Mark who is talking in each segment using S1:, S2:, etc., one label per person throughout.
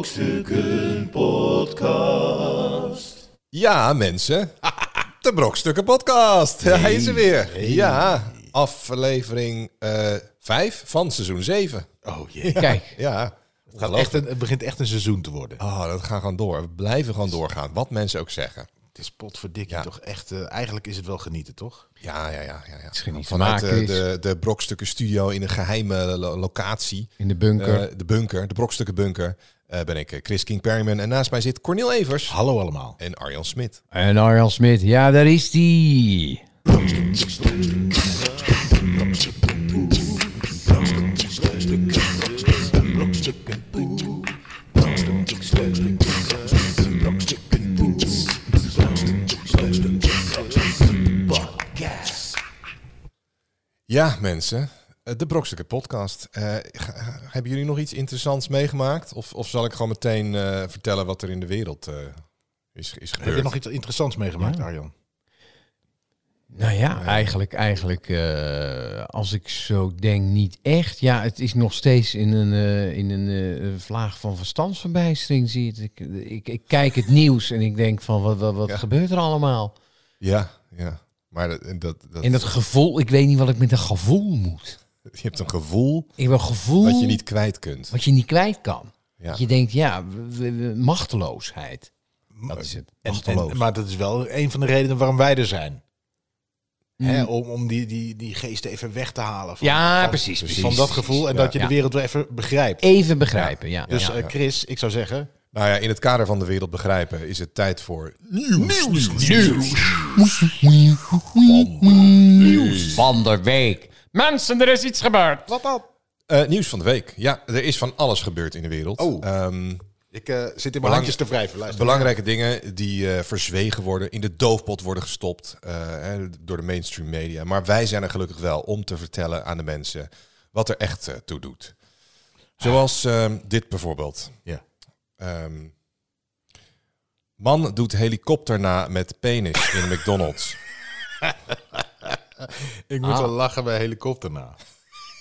S1: Brokstukken Podcast.
S2: Ja, mensen. De Brokstukken Podcast. Hij is er weer. Ja, aflevering 5 van seizoen 7.
S1: Oh jee.
S3: Kijk,
S2: Ja.
S1: Het, gaat Ah, echt een, het begint echt een seizoen te worden.
S2: Oh, dat gaan gewoon door. We blijven gewoon doorgaan. Wat mensen ook zeggen.
S1: Het is potverdikkie
S2: Ja.
S1: toch echt. eh, eigenlijk is het wel genieten toch?
S2: Ja, ja, ja. ja,
S3: is geen
S2: ja.
S3: iets
S2: Vanuit
S3: maken
S2: de, de, de Brokstukken Studio in een geheime lo- locatie.
S3: in de bunker.
S2: Eh, de bunker, de Brokstukken Bunker. eh, ben ik eh, Chris King Perryman. En naast mij zit Cornel Evers.
S1: Hallo allemaal.
S2: En Arjan Smit.
S3: en Arjan Smit, ja, daar is die.
S2: Ja, mensen. Eh, De Brokstukken Podcast. Eh, ga- ga- hebben jullie nog iets interessants meegemaakt? Of, of zal ik gewoon meteen eh, vertellen wat er in de wereld eh, is, is
S1: Heb je
S2: gebeurd?
S1: nog iets interessants meegemaakt, Arjan?
S3: Nou ja, eigenlijk, eigenlijk eh, als ik zo denk, niet echt. Ja, het is nog steeds in een, eh, in een eh, vlaag van verstandsverbijstering, zie je het. Ik, ik, ik kijk het nieuws en ik denk van, wat, wat, wat
S2: Ja.
S3: gebeurt er allemaal?
S2: Ja, ja. Maar dat, eh, dat, dat-
S3: En dat gevoel, ik weet niet wat ik met dat gevoel moet.
S2: je hebt een gevoel
S3: Ik heb een gevoel
S2: dat je niet kwijt kunt.
S3: wat je niet kwijt kan.
S2: Ja.
S3: Dat je denkt, ja, we- we- we- machteloosheid. Dat is het.
S1: En,
S3: Machteloos.
S1: en- maar dat is wel een van de redenen waarom wij er zijn. Hè, om om die, die, die geest even weg te halen. Van,
S3: ja,
S1: van,
S3: precies, precies.
S1: van dat gevoel. En
S2: Ja.
S1: dat je de
S3: Ja.
S1: wereld weer even begrijpt.
S3: Even begrijpen, ja.
S1: Dus
S3: ja.
S1: eh, Chris, ik zou zeggen.
S2: Nou ja, in het kader van de wereld begrijpen is het tijd voor
S3: nieuws van de week. Mensen, er is iets gebeurd.
S1: Wat dan?
S2: eh, nieuws van de week. Ja, er is van alles gebeurd in de wereld.
S1: Oh.
S2: Ehm,
S1: Ik eh, zit in mijn handjes te wrijven. Luister.
S2: Belangrijke dingen die eh, verzwegen worden, in de doofpot worden gestopt eh, hè, door de mainstream media. Maar wij zijn er gelukkig wel om te vertellen aan de mensen wat er echt eh, toe doet. Zoals ehm, dit bijvoorbeeld.
S1: Ja.
S2: Ehm, man doet helikopter na met penis in McDonald's.
S1: Ik moet wel lachen bij helikopter na.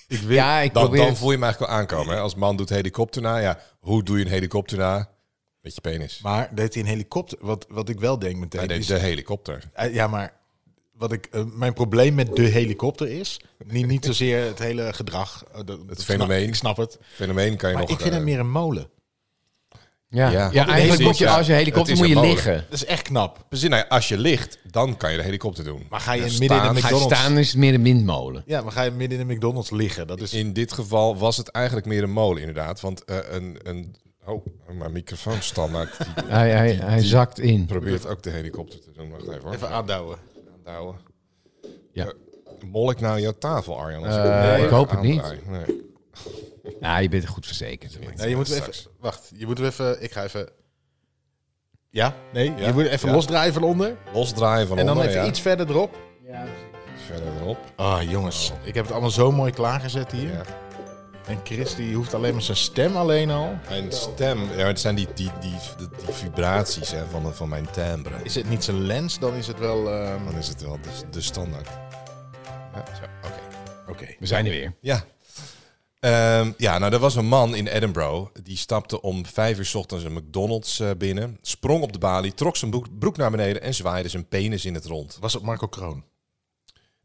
S1: Ik weet,
S3: Ja, ik
S2: Dan,
S3: probeer...
S2: dan voel je me eigenlijk wel aankomen. Hè? Als man doet helikopter na, ja, hoe doe je een helikopter na? Met je penis.
S1: Maar deed hij een helikopter? Wat, wat ik wel denk meteen.
S2: Bij de,
S1: is,
S2: de helikopter.
S1: eh, ja, maar wat ik, eh, mijn probleem met de helikopter is. Niet, niet zozeer het hele gedrag. eh, dat- dat snap-
S2: fenomeen.
S1: ik snap het.
S2: Fenomeen kan je
S1: Maar
S2: nog...
S1: ik vind
S2: eh,
S1: hem meer een molen.
S2: Ja.
S3: ja, ja.
S2: Want een
S3: eigenlijk moet je
S2: helikopter-
S3: als je helikopter
S2: het is
S3: moet je
S2: een molen.
S3: liggen.
S1: Dat is echt knap.
S2: Precies, nou ja, als je ligt, dan kan je de helikopter doen.
S1: Maar ga je
S2: Ja,
S1: midden in
S2: staan-
S1: een
S3: Ga je
S1: McDonald's.
S3: staan is het meer een windmolen.
S1: Ja, maar ga je midden in de McDonald's liggen? Dat is.
S2: In dit geval was het eigenlijk meer een molen, inderdaad. Want eh, een, een... Oh, mijn microfoon standaard. Die
S3: Hij, hij, hij zakt in.
S2: probeert ook de helikopter te doen. Wacht even hoor.
S1: Even aandouwen.
S2: aanhouden.
S3: Ja.
S2: mol ik nou jouw tafel, Arjan? als
S3: Eh,
S2: hem
S3: ik hoop het
S2: aandraai? Nee.
S3: Ja, je bent goed verzekerd.
S1: Ja, je moet even.
S2: Straks.
S1: Wacht, je moet even. Ik ga even. Ja, nee.
S2: Ja,
S1: Je moet even
S2: ja.
S1: losdraaien van onder.
S2: Losdraaien van
S1: En dan
S2: onder,
S1: even
S2: ja.
S1: iets verder erop.
S2: Iets verder erop.
S1: Ah, jongens. Ik heb het allemaal zo mooi klaargezet hier.
S2: Oh. Ja.
S1: En Chris die hoeft alleen maar zijn stem alleen al.
S2: Mijn stem, ja, maar het zijn die, die, die, die, die vibraties hè, van, van mijn timbre.
S1: Is het niet zijn lens, dan is het wel... ehm,
S2: Dan is het wel de, de standaard. Ja, zo, oké.
S1: Oké.
S3: We zijn er weer.
S2: Ja. Ehm, ja, nou, er was een man in Edinburgh. Die stapte om vijf uur 's ochtends een McDonald's eh, binnen. Sprong op de balie, trok zijn broek, broek naar beneden en zwaaide zijn penis in het rond.
S1: Was het Marco Kroon?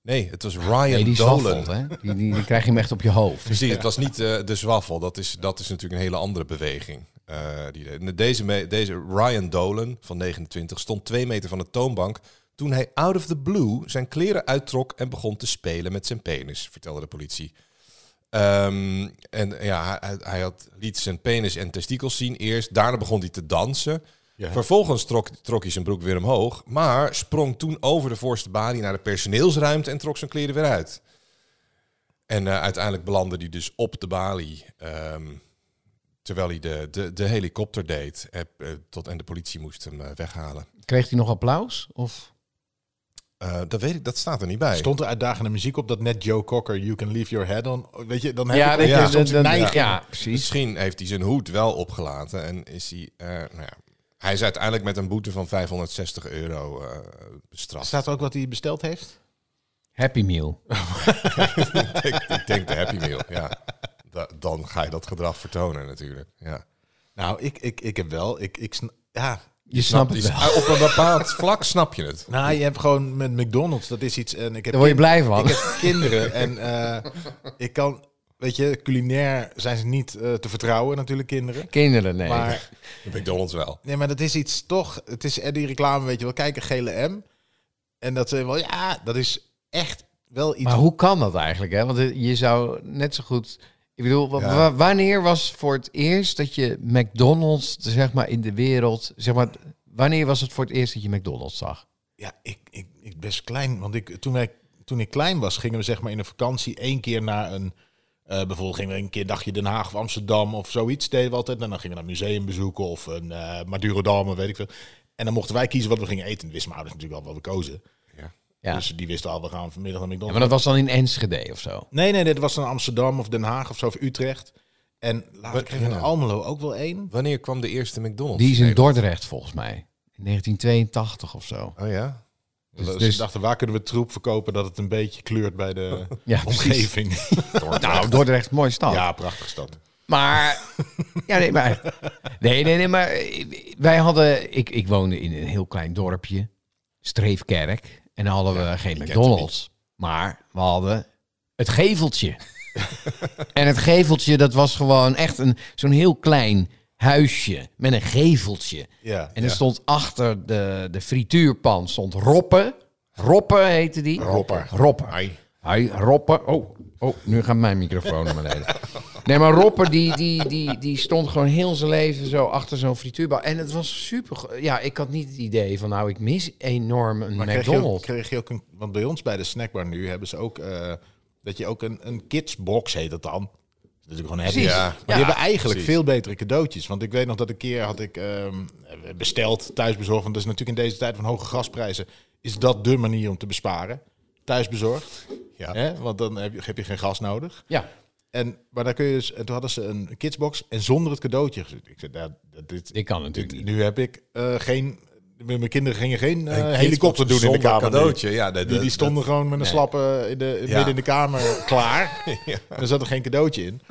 S2: Nee, het was Ryan
S3: Nee, die
S2: Dolan.
S3: zwaffelt, hè. Die, die, die krijg je hem echt op je hoofd. Dus
S2: Precies, het was niet eh, de zwaffel. Dat is, dat is natuurlijk een hele andere beweging. eh, die de- deze, me- deze Ryan Dolan van 29 stond twee meter van de toonbank toen hij out of the blue zijn kleren uittrok en begon te spelen met zijn penis, vertelde de politie. Ehm, en ja, hij, hij had, liet zijn penis en testikels zien eerst. Daarna begon hij te dansen. Vervolgens trok, trok hij zijn broek weer omhoog, maar sprong toen over de voorste balie naar de personeelsruimte en trok zijn kleren weer uit. En eh, uiteindelijk belandde hij dus op de balie. ehm, terwijl hij de, de, de helikopter deed. Eh, eh, tot, en de politie moest hem eh, weghalen.
S3: Kreeg hij nog applaus? Of?
S2: Eh, dat weet ik, dat staat er niet bij.
S1: Stond er uitdagende muziek op dat net Joe Cocker, You Can Leave Your Head On? Weet je, dan heb ik
S3: dat-
S1: ook
S2: ja,
S3: dat-
S1: soms een
S3: dat-
S1: neiging.
S3: ja, precies.
S2: Misschien heeft hij zijn hoed wel opgelaten. En is hij. eh, nou ja. Hij is uiteindelijk met een boete van 560 euro eh, bestraft.
S1: Staat er ook wat hij besteld heeft?
S3: Happy Meal.
S2: ik, ik denk de Happy Meal. Ja. Da- dan ga je dat gedrag vertonen natuurlijk. Ja.
S1: Nou, ik, ik, ik heb wel. Ik, ik sna- ja,
S3: Je snapt het
S2: Die-
S3: wel.
S2: Ah, Op een bepaald vlak snap je het.
S1: nou, je hebt gewoon met McDonald's, dat is iets. En ik heb
S3: Daar
S1: kind-
S3: word je blij van.
S1: Ik heb kinderen en eh, ik kan, weet je, culinair zijn ze niet eh, te vertrouwen, natuurlijk, kinderen.
S3: Kinderen, nee.
S1: Maar
S2: McDonald's wel.
S1: Nee, maar dat is iets toch. Het is eh, die reclame, weet je wel. Kijk, een gele M. En dat ze wel, ja, dat is echt wel iets.
S3: Maar hoe kan dat eigenlijk? Hè? Want eh, je zou net zo goed. Ik bedoel, wa-
S2: Ja.
S3: wa- wanneer was voor het eerst dat je McDonald's, zeg maar, in de wereld. Zeg maar, wanneer was het voor het eerst dat je McDonald's zag?
S1: Ja, ik, ik, ik best klein. Want ik, toen, wij, toen ik klein was, gingen we zeg maar in een vakantie één keer naar een. eh, bijvoorbeeld gingen we een keer een dagje Den Haag of Amsterdam of zoiets deden we altijd. En dan gingen we naar een museum bezoeken of een eh Madurodam of weet ik veel. En dan mochten wij kiezen wat we gingen eten. Dat wisten mijn ouders natuurlijk al wat we kozen.
S3: Ja.
S1: Dus die wisten al, we gaan vanmiddag naar
S3: Ja,
S1: McDonald's.
S3: maar dat was dan in Enschede of zo.
S1: Nee, nee, dit was in Amsterdam of Den Haag of zo, of Utrecht. En later
S2: Wat-
S1: kregen we in
S2: ja.
S1: Almelo ook wel één.
S2: Wanneer kwam de eerste McDonald's?
S3: Die is
S2: in
S3: in
S2: Nederland?
S3: Dordrecht volgens mij. In 1982 of zo.
S2: Oh ja?
S1: Dus,
S3: Dus-
S1: ze
S3: dus-
S1: dachten, waar kunnen we troep verkopen dat het een beetje kleurt bij de
S3: Ja, precies.
S1: omgeving?
S3: Nou, Dordrecht, mooie stad.
S1: Ja, prachtige stad.
S3: Maar, ja, nee, maar, nee, nee, nee, maar eh, wij hadden, ik, ik woonde in een heel klein dorpje, Streefkerk, en dan hadden we geen
S2: kent
S3: McDonald's, maar we hadden het geveltje. en het geveltje, dat was gewoon echt een, zo'n heel klein huisje met een geveltje.
S1: Ja,
S3: En er stond achter de, de frituurpan stond Roppe. Roppe heette die.
S1: Roppe.
S3: Roppe. Hij, Roppe. Oh, oh, nu gaat mijn microfoon naar beneden. Nee, maar Roppe die, die, die, die stond gewoon heel zijn leven zo achter zo'n frituurbal. En het was super... ge- Ja, ik had niet het idee van nou, ik mis enorm een
S1: maar kreeg je, ook,
S3: McDonald's.
S1: kreeg je ook een, want bij ons bij de snackbar nu hebben ze ook, eh, dat je ook een, een kidsbox heet dat dan. Dat is natuurlijk gewoon happy.
S3: Precies.
S1: Ja.
S3: Ja.
S1: Maar die hebben eigenlijk
S2: precies.
S1: veel betere cadeautjes. Want ik weet nog dat een keer had ik ehm, besteld, thuisbezorgd. Want dat is natuurlijk in deze tijd van hoge gasprijzen, is dat de manier om te besparen. Thuisbezorgd.
S2: Ja.
S1: Hè? Want dan heb je, heb je geen gas nodig.
S3: Ja,
S1: En, maar daar kun je dus, en toen hadden ze een kidsbox en zonder het cadeautje. gezet. Ik zei, nou, dat- dit,
S3: dit kan natuurlijk niet.
S1: nu heb ik eh, geen, mijn kinderen gingen geen eh,
S2: Een
S1: helikopter doen in de
S2: zonder
S1: kamer. nu.
S2: cadeautje. Ja, dat-
S1: Die, die
S2: dat-
S1: stonden gewoon met een
S3: nee.
S1: slappe in de, midden in de kamer klaar. En er zat er geen cadeautje in.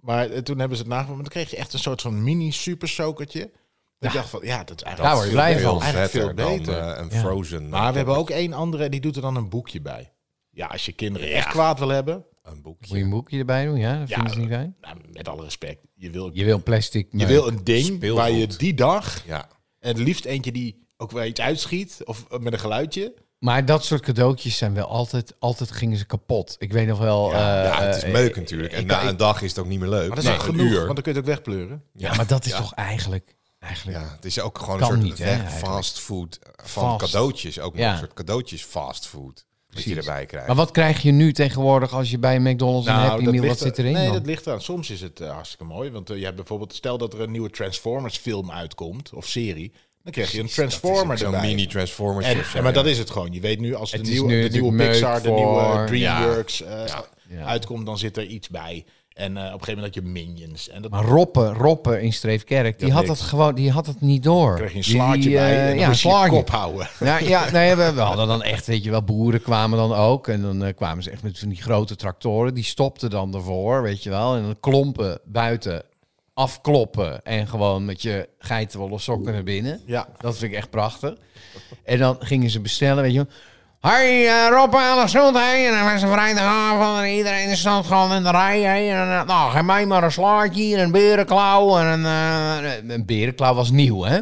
S1: Maar eh, toen hebben ze het nagemaakt. Maar dan kreeg je echt een soort van mini supersokertje. Dat Ik dacht van, ja, dat is
S3: Daar
S1: eigenlijk
S3: word je
S1: veel
S3: blij
S1: beter.
S3: van.
S1: Eigenlijk veel
S2: dan,
S1: beter.
S2: eh, een
S3: Ja.
S2: Frozen. eh,
S1: maar we hebben ook één andere, die doet er dan een boekje bij. Ja, als je kinderen echt kwaad wil hebben,
S2: Een
S3: Moet je
S2: boekje.
S3: een boekje erbij doen? Ja, dat
S1: Ja,
S3: vind ik niet fijn.
S1: nou, met alle respect, je wil,
S3: Je wil een plastic...
S1: je
S3: meuk.
S1: wil een ding
S2: speelgoed.
S1: waar je die dag
S2: Ja.
S1: En het liefst eentje die ook wel iets uitschiet. Of eh, met een geluidje.
S3: Maar dat soort cadeautjes zijn wel altijd... Altijd gingen ze kapot. Ik weet nog wel... eh,
S2: ja, het is
S3: eh,
S2: meuk natuurlijk. En
S3: ik-
S2: na
S3: ik-
S2: een dag is het ook niet meer leuk.
S1: Maar dat is
S2: Na
S1: ook
S2: een
S1: genoeg,
S2: uur.
S1: want dan kun je het ook wegpleuren.
S3: Ja, maar dat is toch eigenlijk... eigenlijk
S2: Ja, het is ook gewoon
S3: Kan
S2: een soort
S3: niet, hè,
S2: weg
S3: eigenlijk.
S2: fastfood eh, van
S3: Fast.
S2: cadeautjes. Ook nog
S3: Ja.
S2: een soort cadeautjes fastfood. Wat je
S3: Precies.
S2: erbij krijgt.
S3: Maar wat krijg je nu tegenwoordig als je bij een McDonald's een Happy Meal... Wat
S1: ligt
S3: zit
S1: er-
S3: erin
S1: Nee,
S3: dan?
S1: Nou, dat ligt eraan. Soms is het eh, hartstikke mooi. Want eh, je hebt bijvoorbeeld, stel dat er een nieuwe Transformers film uitkomt. Of serie. Dan krijg je een Transformer
S2: Zo'n
S1: erbij.
S2: mini Transformers.
S1: en,
S2: of zo,
S1: en- maar
S2: ja.
S1: dat is het gewoon. Je weet nu, als de
S3: Het is
S1: nieuwe,
S3: nu
S1: de nieuwe
S3: natuurlijk meuk
S1: Pixar, de nieuwe
S3: voor-
S1: DreamWorks eh,
S3: Ja.
S1: uitkomt, dan zit er iets bij. En eh, op een gegeven moment had je Minions. En dat
S3: Maar Roppe, Roppe in Streefkerk, die,
S1: Ja,
S3: had
S1: niks.
S3: dat gewoon, die had het niet door.
S1: kreeg je een
S3: Die-
S1: slaatje
S3: die,
S1: bij.
S3: eh,
S1: En dan
S3: ja, een
S1: moest je je
S3: slaatje.
S1: kop houden.
S3: Ja, ja nee, we, we hadden dan echt, weet je wel, boeren kwamen dan ook. En dan eh, kwamen ze echt met van die grote tractoren. Die stopten dan ervoor, weet je wel. En dan klompen buiten, afkloppen. En gewoon met je geitenwolle sokken naar binnen.
S1: Ja.
S3: Dat vind ik echt prachtig. En dan gingen ze bestellen, weet je wel. Hoi, eh Rob, alle gezondheid. En dan was het vrijdagavond en iedereen stond gewoon in de rij. hè. En, eh, nou, geef mij maar een slaatje en een berenklauw. En een, eh, een berenklauw was nieuw, hè?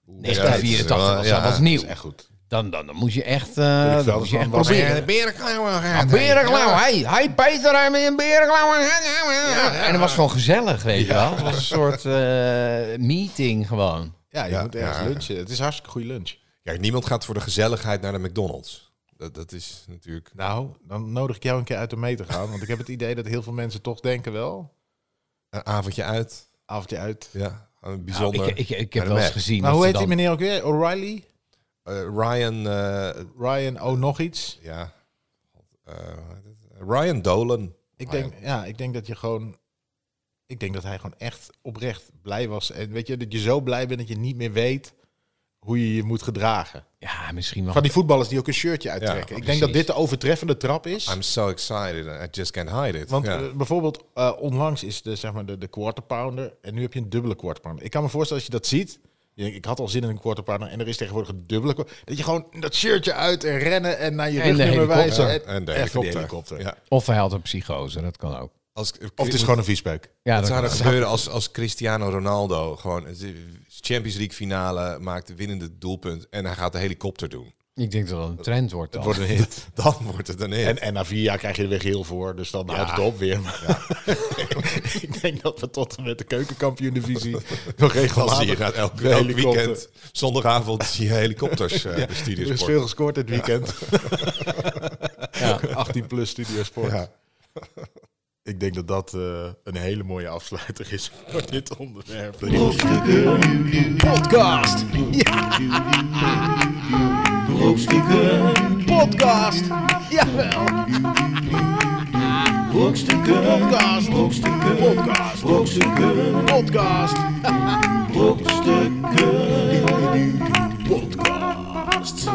S2: dat
S3: 1984
S2: is wel-
S3: was,
S2: ja,
S3: dat was
S1: Dat
S3: nieuw.
S1: is echt goed.
S3: Dan, dan, dan moet je echt, eh,
S1: wel,
S3: dan
S1: dat
S3: moet
S1: is
S3: je
S1: wel
S3: echt
S1: een warme-
S3: proberen.
S2: berenklauw.
S3: Een berenklauw, hey, hey Peter, hij met een berenklauw. En dat was gewoon gezellig, weet je wel. Het was een soort eh, meeting gewoon.
S1: Ja, je
S2: Ja,
S1: moet ergens
S2: ja.
S1: lunchen. Het is een hartstikke goede lunch.
S2: Ja, niemand gaat voor de gezelligheid naar de McDonald's. Dat, dat is natuurlijk...
S1: Nou, dan nodig ik jou een keer uit om mee te gaan. Want ik heb het idee dat heel veel mensen toch denken wel.
S2: Een avondje uit.
S1: Avondje uit.
S2: Ja, een bijzonder.
S3: Nou, ik, ik, ik
S2: Bij
S3: heb
S2: de
S3: wel eens
S2: Mac.
S3: gezien
S1: Maar
S3: dat
S1: hoe
S3: ze
S1: heet die
S3: dan-
S1: meneer ook weer? O'Reilly?
S2: Eh, Ryan... eh,
S1: Ryan, oh nog iets?
S2: ja. Eh, hoe heet het? Ryan Dolan.
S1: Ik
S2: Ryan.
S1: denk, ja, ik denk dat je gewoon... Ik denk dat hij gewoon echt oprecht blij was. En weet je, dat je zo blij bent dat je niet meer weet hoe je je moet gedragen.
S3: Ja, Ja, misschien wel.
S1: Van die voetballers die ook een shirtje uittrekken. ik denk dat
S3: precies.
S1: dit de overtreffende trap is.
S2: I'm so excited. I just can't hide it.
S1: Want
S2: Ja.
S1: eh, bijvoorbeeld eh, onlangs is de, zeg maar de, de quarter pounder en nu heb je een dubbele quarter pounder. Ik kan me voorstellen als je dat ziet. je denkt, Ik had al zin in een quarter pounder en er is tegenwoordig een dubbele. kwa- Dat je gewoon dat shirtje uit en rennen en naar je
S3: En de
S1: rugnummer
S3: helikopter.
S1: wijzen.
S2: Ja,
S1: En,
S2: en de
S1: even
S2: helikopter.
S1: de helikopter.
S2: Ja.
S3: Of hij had een psychose, dat kan ook.
S2: Als,
S1: Of het is gewoon een viespeuk.
S3: Ja,
S2: Wat
S3: dat
S2: zou
S3: kan
S2: er
S3: ook.
S2: gebeuren als, als Cristiano Ronaldo gewoon het is- Champions League finale maakt het winnende doelpunt en hij gaat de helikopter doen?
S3: Ik denk dat dat een trend wordt. Dan.
S1: Wordt een hit.
S2: Dan wordt het een hit.
S1: En, en na vier jaar krijg je er weer geel voor. Dus dan houdt het op weer. ik denk dat we tot en met de keukenkampioen divisie nog
S2: dan zie
S1: regelmatig
S2: je gaat elk,
S1: de
S2: elk
S1: helikopter.
S2: weekend, zondagavond, zie je helikopters eh
S1: Er
S2: besturen.
S1: is veel gescoord dit weekend.
S3: Ja.
S1: 18 plus studiosport.
S2: Ja.
S1: Ik denk dat dat eh, een hele mooie afsluiter is voor dit onderwerp.
S4: Podcast. Ja. Brokstukken. Podcast. Jawel. Brokstukken. Podcast. Brokstukken. Podcast. Brokstukken. Podcast. Brokstukken. Podcast.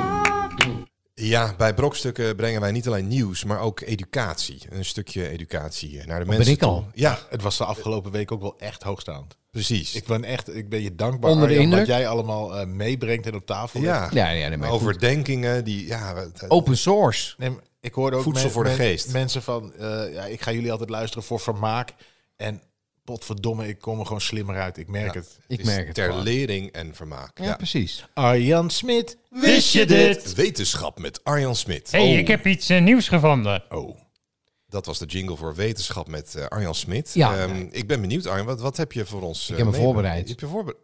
S2: Ja, bij Brokstukken brengen wij niet alleen nieuws, maar ook educatie. Een stukje educatie eh, naar de
S3: Oh, ben
S2: mensen
S3: ik
S2: toe.
S3: al?
S2: Ja,
S1: Het was de afgelopen week ook wel echt hoogstaand.
S2: precies.
S1: Ik ben, echt, ik ben je dankbaar
S3: Onder de
S1: Arjan, wat
S3: indruk?
S1: jij allemaal eh, meebrengt en op tafel legt.
S2: ja,
S3: Ja, ja, nee, maar goed.
S2: overdenkingen die... Ja, het-
S3: Open source.
S1: Nee, maar ik hoorde ook
S2: Voedsel
S1: men-
S2: voor de
S1: men-
S2: geest.
S1: mensen van, eh, ja, ik ga jullie altijd luisteren voor vermaak. En potverdomme, ik kom er gewoon slimmer uit. Ik merk het.
S3: Ik
S2: is
S3: merk het
S2: ter
S3: gewoon.
S2: lering en vermaak.
S3: Ja,
S2: ja.
S3: precies.
S1: Arjan Smit,
S4: Wist je dit?
S2: Wetenschap met Arjan Smit. Oh,
S5: Hé, hey, ik heb iets eh, nieuws gevonden.
S1: Oh,
S2: Dat was de jingle voor wetenschap met eh, Arjan Smit.
S3: Ja.
S2: Ehm, Ik ben benieuwd, Arjan, wat, wat heb je voor ons? eh,
S3: heb me voorbereid.
S2: Heb je voorbereid?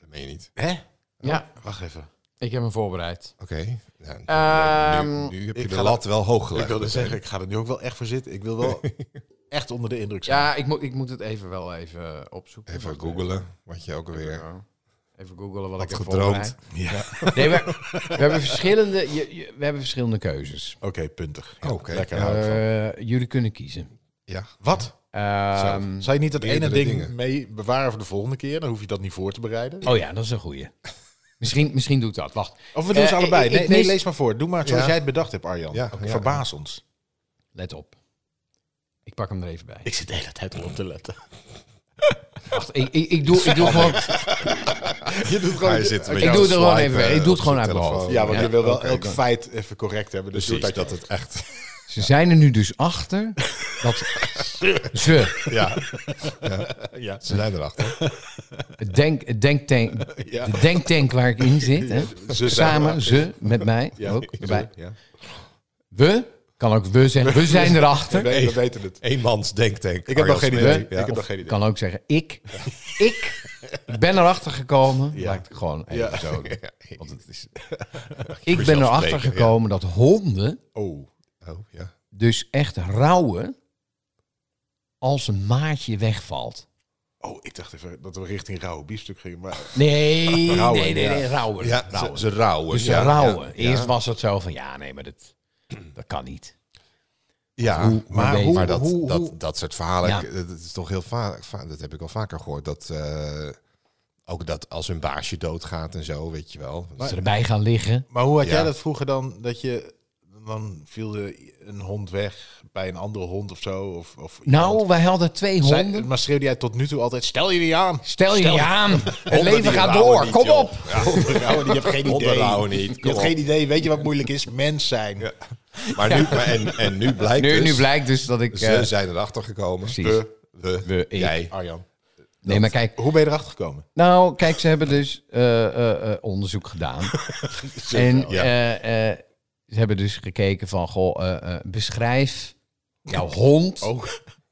S2: Dat meen je niet.
S1: hè?
S3: Ja,
S1: Wacht even.
S3: ik heb hem voorbereid.
S2: Oké. Nou,
S3: Ehm,
S2: nu, nu heb je
S1: ik
S2: de
S1: ga
S2: lat wel hoog
S1: Ik
S2: gelegd.
S1: wilde zeggen, ik ga er nu ook wel echt voor zitten. Ik wil wel echt onder de indruk zijn.
S3: Ja, ik, moet ik moet het even wel even eh, opzoeken.
S2: Even
S3: Wacht
S2: googelen, wat je ook alweer...
S3: Even, even googelen wat
S2: Had
S3: ik heb
S2: gedroomd.
S3: voorbereid.
S1: Ja.
S3: Nee, we, we, hebben verschillende, je- je- we hebben verschillende keuzes.
S1: Oké, puntig.
S2: Oh, Oké.
S1: lekker.
S2: Ja.
S3: Eh, jullie kunnen kiezen.
S2: Ja.
S1: Wat?
S3: Ehm,
S1: Zou je niet dat ene
S2: meerdere
S1: ding
S2: dingen.
S1: mee bewaren voor de volgende keer? Dan hoef je dat niet voor te bereiden.
S3: oh ja, dat is een goeie. Misschien, misschien doe ik dat. Wacht,
S1: Of we doen ze
S3: Eh,
S1: allebei.
S3: ik- ik
S1: nee, nee,
S3: mis-
S1: lees maar voor. Doe maar zoals
S2: Ja.
S1: jij het bedacht hebt, Arjan.
S2: Ja,
S1: Oké,
S2: ja.
S1: Verbaas ons.
S3: let op. Ik pak hem er even bij.
S1: Ik zit de hele tijd om op te letten.
S3: Wacht, ik, ik, ik doe, ik doe gewoon,
S1: Je doet gewoon...
S2: Hij zit
S3: ik doe het er gewoon even bij. Ik doe het gewoon uit mijn hoofd.
S1: Ja, want je wil wel
S2: Oké,
S1: elk
S2: dan-
S1: feit even correct hebben. Dus
S2: Precies,
S1: doe dat
S2: dat het echt...
S3: Ze zijn er nu dus achter dat ze
S2: ja,
S1: Ja.
S2: ze zijn erachter.
S3: het denk, het denktank,
S1: Ja.
S3: de denktank waar ik in zit, hè,
S1: Ze
S3: samen, ze, met mij,
S1: Ja,
S3: ook, erbij.
S1: Ja.
S3: We, kan ook we zijn, we zijn erachter.
S1: Nee, we weten het.
S2: Eenmans denktank.
S1: Ik heb nog geen idee. Ik
S2: Ja.
S1: heb nog geen idee.
S3: Kan ook zeggen, ik, ik ben erachter gekomen.
S1: Ja.
S3: Laat ik het gewoon even
S1: Ja.
S3: zo doen.
S2: Ja.
S3: Want het is, ik ben
S2: mezelf
S3: erachter
S2: spreken,
S3: gekomen dat honden
S1: Oh.
S2: Oh, ja.
S3: dus echt rouwen als een maatje wegvalt.
S1: Oh, ik dacht even dat we richting rauwe biefstuk gingen. Maar
S3: Nee,
S1: Rouwen,
S3: nee, nee,
S1: ja.
S3: nee, rouwen.
S2: Ja,
S3: rouwen.
S2: ze, ze rouwen.
S3: dus ze
S2: ja,
S3: rouwen.
S2: ja,
S3: Eerst
S2: ja.
S3: was het zo van, ja, nee, maar dat, dat kan niet.
S2: Ja,
S3: Hoe-
S2: maar,
S3: hoe-
S2: hoe, maar dat,
S3: hoe-
S2: dat,
S3: hoe-
S2: dat soort verhalen,
S3: Ja.
S2: ik- dat is toch heel vaak, va- dat heb ik al vaker gehoord, dat eh, ook dat als hun baasje doodgaat en zo, weet je wel.
S3: Dat ze erbij gaan liggen.
S1: Maar hoe had
S2: Ja.
S1: jij dat vroeger dan? Dat je dan viel er een hond weg bij een andere hond of zo? Of, of
S3: Nou, wij hadden twee
S1: Zij-
S3: honden.
S1: maar schreeuwde jij tot nu toe altijd: stel je niet aan.
S3: Stel je niet aan. Het
S2: Honden
S3: leven
S2: die
S3: gaat
S2: rouwen
S3: door.
S2: niet,
S3: Kom
S2: joh.
S3: op.
S2: Ja,
S1: Rouwen, je hebt geen idee.
S2: honden rouwen niet.
S1: Je
S2: kom
S1: hebt
S2: op.
S1: geen idee. Weet je wat moeilijk is? Mens zijn.
S2: Maar nu, maar en, en nu blijkt
S3: Nu,
S2: dus,
S3: nu blijkt dus dat ik...
S2: ze
S3: eh,
S2: zijn erachter gekomen.
S3: Precies.
S2: We, we,
S3: We, ik.
S2: jij.
S1: Arjan,
S3: nee, maar kijk,
S1: hoe ben je erachter gekomen?
S3: Nou, kijk, ze hebben dus eh, eh, eh, onderzoek gedaan. en
S2: ja.
S3: eh, eh, ze hebben dus gekeken van, goh, eh, eh, beschrijf jouw hond,
S1: Oh,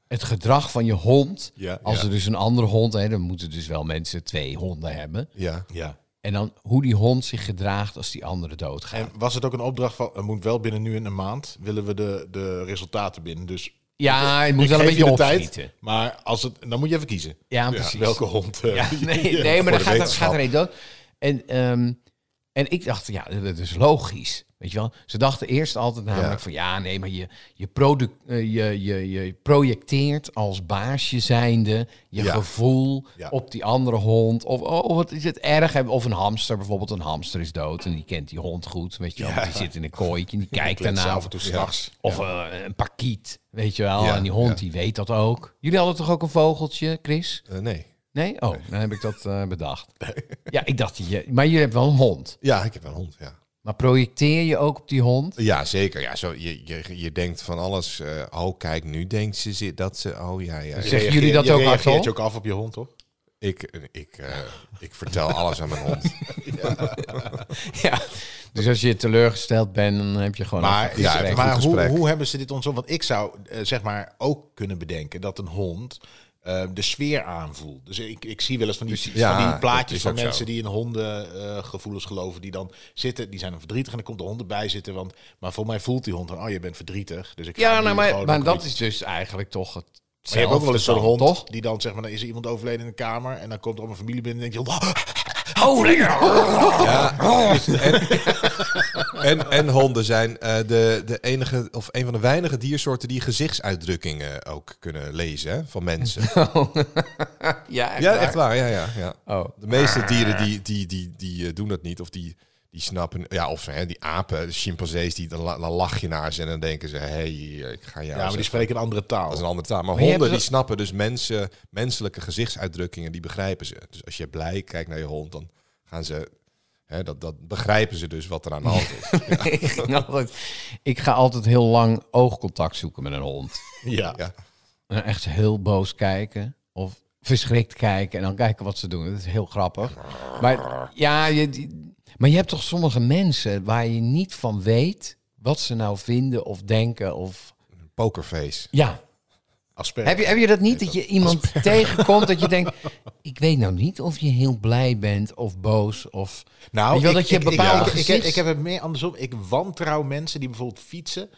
S3: het gedrag van je hond.
S1: ja.
S3: Als
S2: Ja.
S3: er dus een andere hond, hè, dan moeten dus wel mensen twee honden hebben.
S2: Ja.
S1: ja.
S3: En dan hoe die hond zich gedraagt als die andere doodgaat.
S1: En was het ook een opdracht van: het moet wel binnen nu en een maand willen we de, de resultaten binnen. Dus
S3: ja, je moet
S1: ik
S3: wel een
S1: geef
S3: beetje
S1: je de tijd,
S3: opschieten.
S1: Maar als het, dan moet je even kiezen.
S3: Ja, precies.
S1: Welke hond? eh,
S3: Ja, nee, nee, maar
S2: Voor
S3: dan
S2: de
S3: gaat, er-
S2: wetenschap.
S3: gaat er één dood. En ehm, En ik dacht, ja, dat is logisch. Weet je wel? Ze dachten eerst altijd namelijk
S2: Ja.
S3: van ja, nee, maar je, je, produc- eh, je, je, je projecteert als baasje zijnde je
S2: Ja.
S3: gevoel
S1: Ja.
S3: op die andere hond. Of oh, wat is het erg? Of een hamster bijvoorbeeld. Een hamster is dood en die kent die hond goed. Weet je wel? want Die zit in een kooitje en die kijkt
S1: Kletsen
S3: daarna.
S1: af en toe s'nachts.
S3: Of eh, een pakiet, weet je wel.
S2: Ja,
S3: en die hond
S2: ja.
S3: die weet dat ook. Jullie hadden toch ook een vogeltje, Chris?
S2: Eh, nee.
S3: Nee? Oh, dan heb ik dat eh, bedacht. Ja, ik dacht, je, maar je hebt wel een hond.
S2: Ja, ik heb wel een hond, ja.
S3: Maar projecteer je ook op die hond?
S2: Ja, zeker. Ja, zo, je, je, je denkt van alles. eh, oh, kijk, nu denkt ze zi- dat ze... Oh, ja, ja.
S3: Zeggen jullie dat
S1: je
S3: ook
S1: reageert
S3: hardop?
S1: je ook af op je hond, toch?
S2: Ik, ik, eh, ik vertel alles aan mijn hond.
S3: Ja. Dus als je teleurgesteld bent, dan heb je gewoon
S1: Maar,
S3: een goed gesprek.
S2: ja,
S1: maar
S2: goed
S1: hoe,
S2: gesprek.
S1: hoe hebben ze dit ontzocht? Want ik zou eh, zeg maar ook kunnen bedenken dat een hond eh, de sfeer aanvoelt. Dus ik, ik zie wel eens van die,
S2: Ja,
S1: van die
S2: dat
S1: plaatjes
S2: is
S1: van
S2: ook zo.
S1: mensen die in hondengevoelens geloven. Die dan zitten, die zijn dan verdrietig en dan komt de hond erbij zitten. Want, maar voor mij voelt die hond dan, oh je bent verdrietig. Dus ik ga
S3: ja,
S1: nu
S3: nou, maar,
S1: gewoon
S3: maar
S1: een
S3: dat
S1: knietje-
S3: is dus eigenlijk toch het
S1: Maar je hebt ook wel eens zo'n
S3: zelfde
S1: hond
S3: dan, toch?
S1: die dan zeg maar, dan is er iemand overleden in de kamer. En dan komt er allemaal familie binnen en denk je, "Oh,
S3: Oh,
S2: Dus En, en honden zijn eh, de, de enige, of een van de weinige diersoorten die gezichtsuitdrukkingen ook kunnen lezen hè, van mensen.
S3: Ja, echt
S2: ja,
S3: waar.
S2: echt waar. Ja, ja, ja.
S3: Oh.
S2: De meeste
S1: Ah.
S2: dieren die, die, die, die eh, doen dat niet. Of die, die snappen... Ja, of hè, die apen, de chimpansees, die, dan, la- dan lach je naar ze en dan denken ze... Hé, hey, eh, ik ga jou...
S1: Ja, maar die
S2: eens-
S1: spreken een andere taal.
S2: dat is een andere taal. Maar,
S3: Maar je
S2: honden
S3: hebt
S2: die
S3: zo-
S2: snappen dus mensen, menselijke gezichtsuitdrukkingen, die begrijpen ze. Dus als je blij kijkt naar je hond, dan gaan ze... Hè, dat, dat begrijpen ze dus wat er aan de hand is.
S3: ik, ging altijd- Nou ik ga altijd heel lang oogcontact zoeken met een hond.
S1: Ja.
S2: Ja.
S3: En dan echt heel boos kijken of verschrikt kijken en dan kijken wat ze doen. Dat is heel grappig. Maar ja, je, die- maar je hebt toch sommige mensen waar je niet van weet wat ze nou vinden of denken of
S2: Pokerface.
S3: ja.
S1: Asperger.
S3: Heb je, heb je dat niet, dat je iemand tegenkomt dat je denkt... ik weet nou niet of je heel blij bent of boos of...
S1: Nou,
S3: Weet je wel, dat je
S1: ik,
S3: bepaalde
S1: ik, ik, ik,
S3: gezichts-
S1: ik heb het meer andersom. Ik wantrouw mensen die bijvoorbeeld fietsen.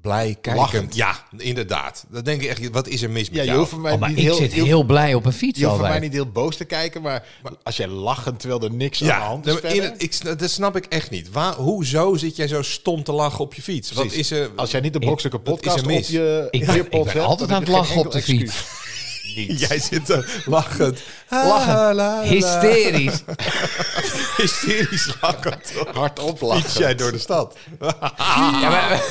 S2: Blij
S1: Lachend.
S2: Ja, inderdaad. Dan denk ik echt, wat is er mis met
S1: Ja, je
S2: jou?
S1: hoeft voor mij
S3: Oh, maar
S1: niet
S3: ik
S1: heel,
S3: zit
S1: je hoeft-
S3: heel, blij op een fiets
S1: je hoeft voor mij
S3: altijd.
S1: niet heel boos te kijken, maar, maar als jij lachen terwijl er niks aan de
S2: ja,
S1: hand is
S2: nee, maar in
S1: verder,
S2: het- ik, sna- dat snap ik echt niet. Waar, hoezo zit jij zo stom te lachen op je fiets? Wat
S1: precies.
S2: is er...
S1: als jij niet de Boxelijke
S2: dat is
S1: podcast
S2: er
S1: op
S2: mis.
S1: je
S3: Ik ben- ik
S1: earpod
S3: ben
S1: hebt,
S3: altijd
S1: dan
S3: aan
S1: heb
S3: het
S1: je
S3: lachen
S1: geen
S3: op de
S1: enkel
S3: fiets.
S1: excuus.
S2: Jij zit er lachend.
S1: Ah,
S3: Lachen. Hysterisch.
S2: Hysterisch lachend.
S1: Hardop
S2: Fiets
S1: lachen.
S2: jij door de stad.
S3: Ja, maar,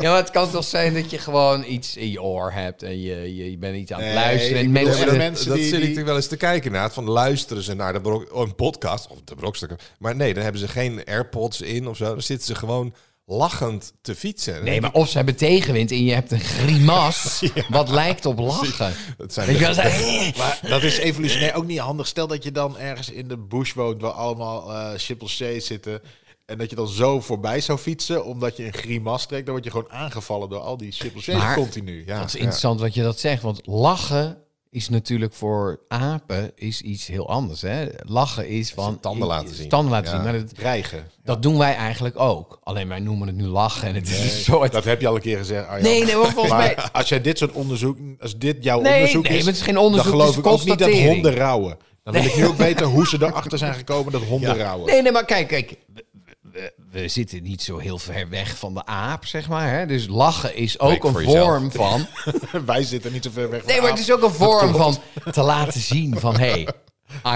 S3: ja, maar het kan toch zijn dat je gewoon iets in je oor hebt en je, je, je bent iets aan het
S1: Nee,
S3: luisteren.
S1: ik
S3: En
S1: bedoel,
S3: mensen,
S1: maar de
S2: dat
S1: mensen
S2: dat
S1: die-
S2: zit ik
S1: die-
S2: er wel eens te kijken naar. Van luisteren ze naar de brok- oh, een podcast of de brokstukken. Maar nee, dan hebben ze geen AirPods in of zo. Dan zitten ze gewoon lachend te fietsen. Dan
S3: nee, maar of ze hebben tegenwind en je hebt een grimas wat lijkt op lachen.
S2: Het zijn
S3: Weet je wel,
S2: best-
S3: ze-
S1: Maar dat is evolutionair ook niet handig. Stel dat je dan ergens in de bush woont waar allemaal eh chimpansees zitten. En dat je dan zo voorbij zou fietsen, omdat je een grimas trekt. Dan word je gewoon aangevallen door al die chimpansees
S3: Maar-
S1: continu. Ja.
S3: Dat is interessant wat je dat zegt, want lachen is natuurlijk voor apen is iets heel anders. Hè? Lachen is van...
S2: tanden laten zien.
S3: Tanden laten
S2: Ja.
S3: zien, maar dat,
S1: Dreigen.
S3: dat doen wij eigenlijk ook. Alleen wij noemen het nu lachen en het is een soort...
S1: Dat heb je al een keer gezegd. Arjan.
S3: Nee, nee, maar volgens mij...
S1: Maar als jij dit soort onderzoek, als dit jouw
S3: Nee,
S1: onderzoek
S3: nee,
S1: is,
S3: maar het is geen onderzoek,
S1: dan
S3: het
S1: geloof
S3: is
S1: ik ook niet dat
S3: constatering.
S1: honden rouwen. Dan wil ik nu ook weten hoe ze erachter zijn gekomen dat honden rouwen.
S3: Nee, nee, maar kijk, kijk. We, we- we zitten niet zo heel ver weg van de aap, zeg maar. Hè? Dus lachen is ook
S2: Spreek
S3: een
S2: voor jezelf.
S3: vorm van...
S1: Wij zitten niet zo ver weg. van
S3: Nee, maar
S1: aap.
S3: het is ook een vorm van te laten zien van... hé, hey,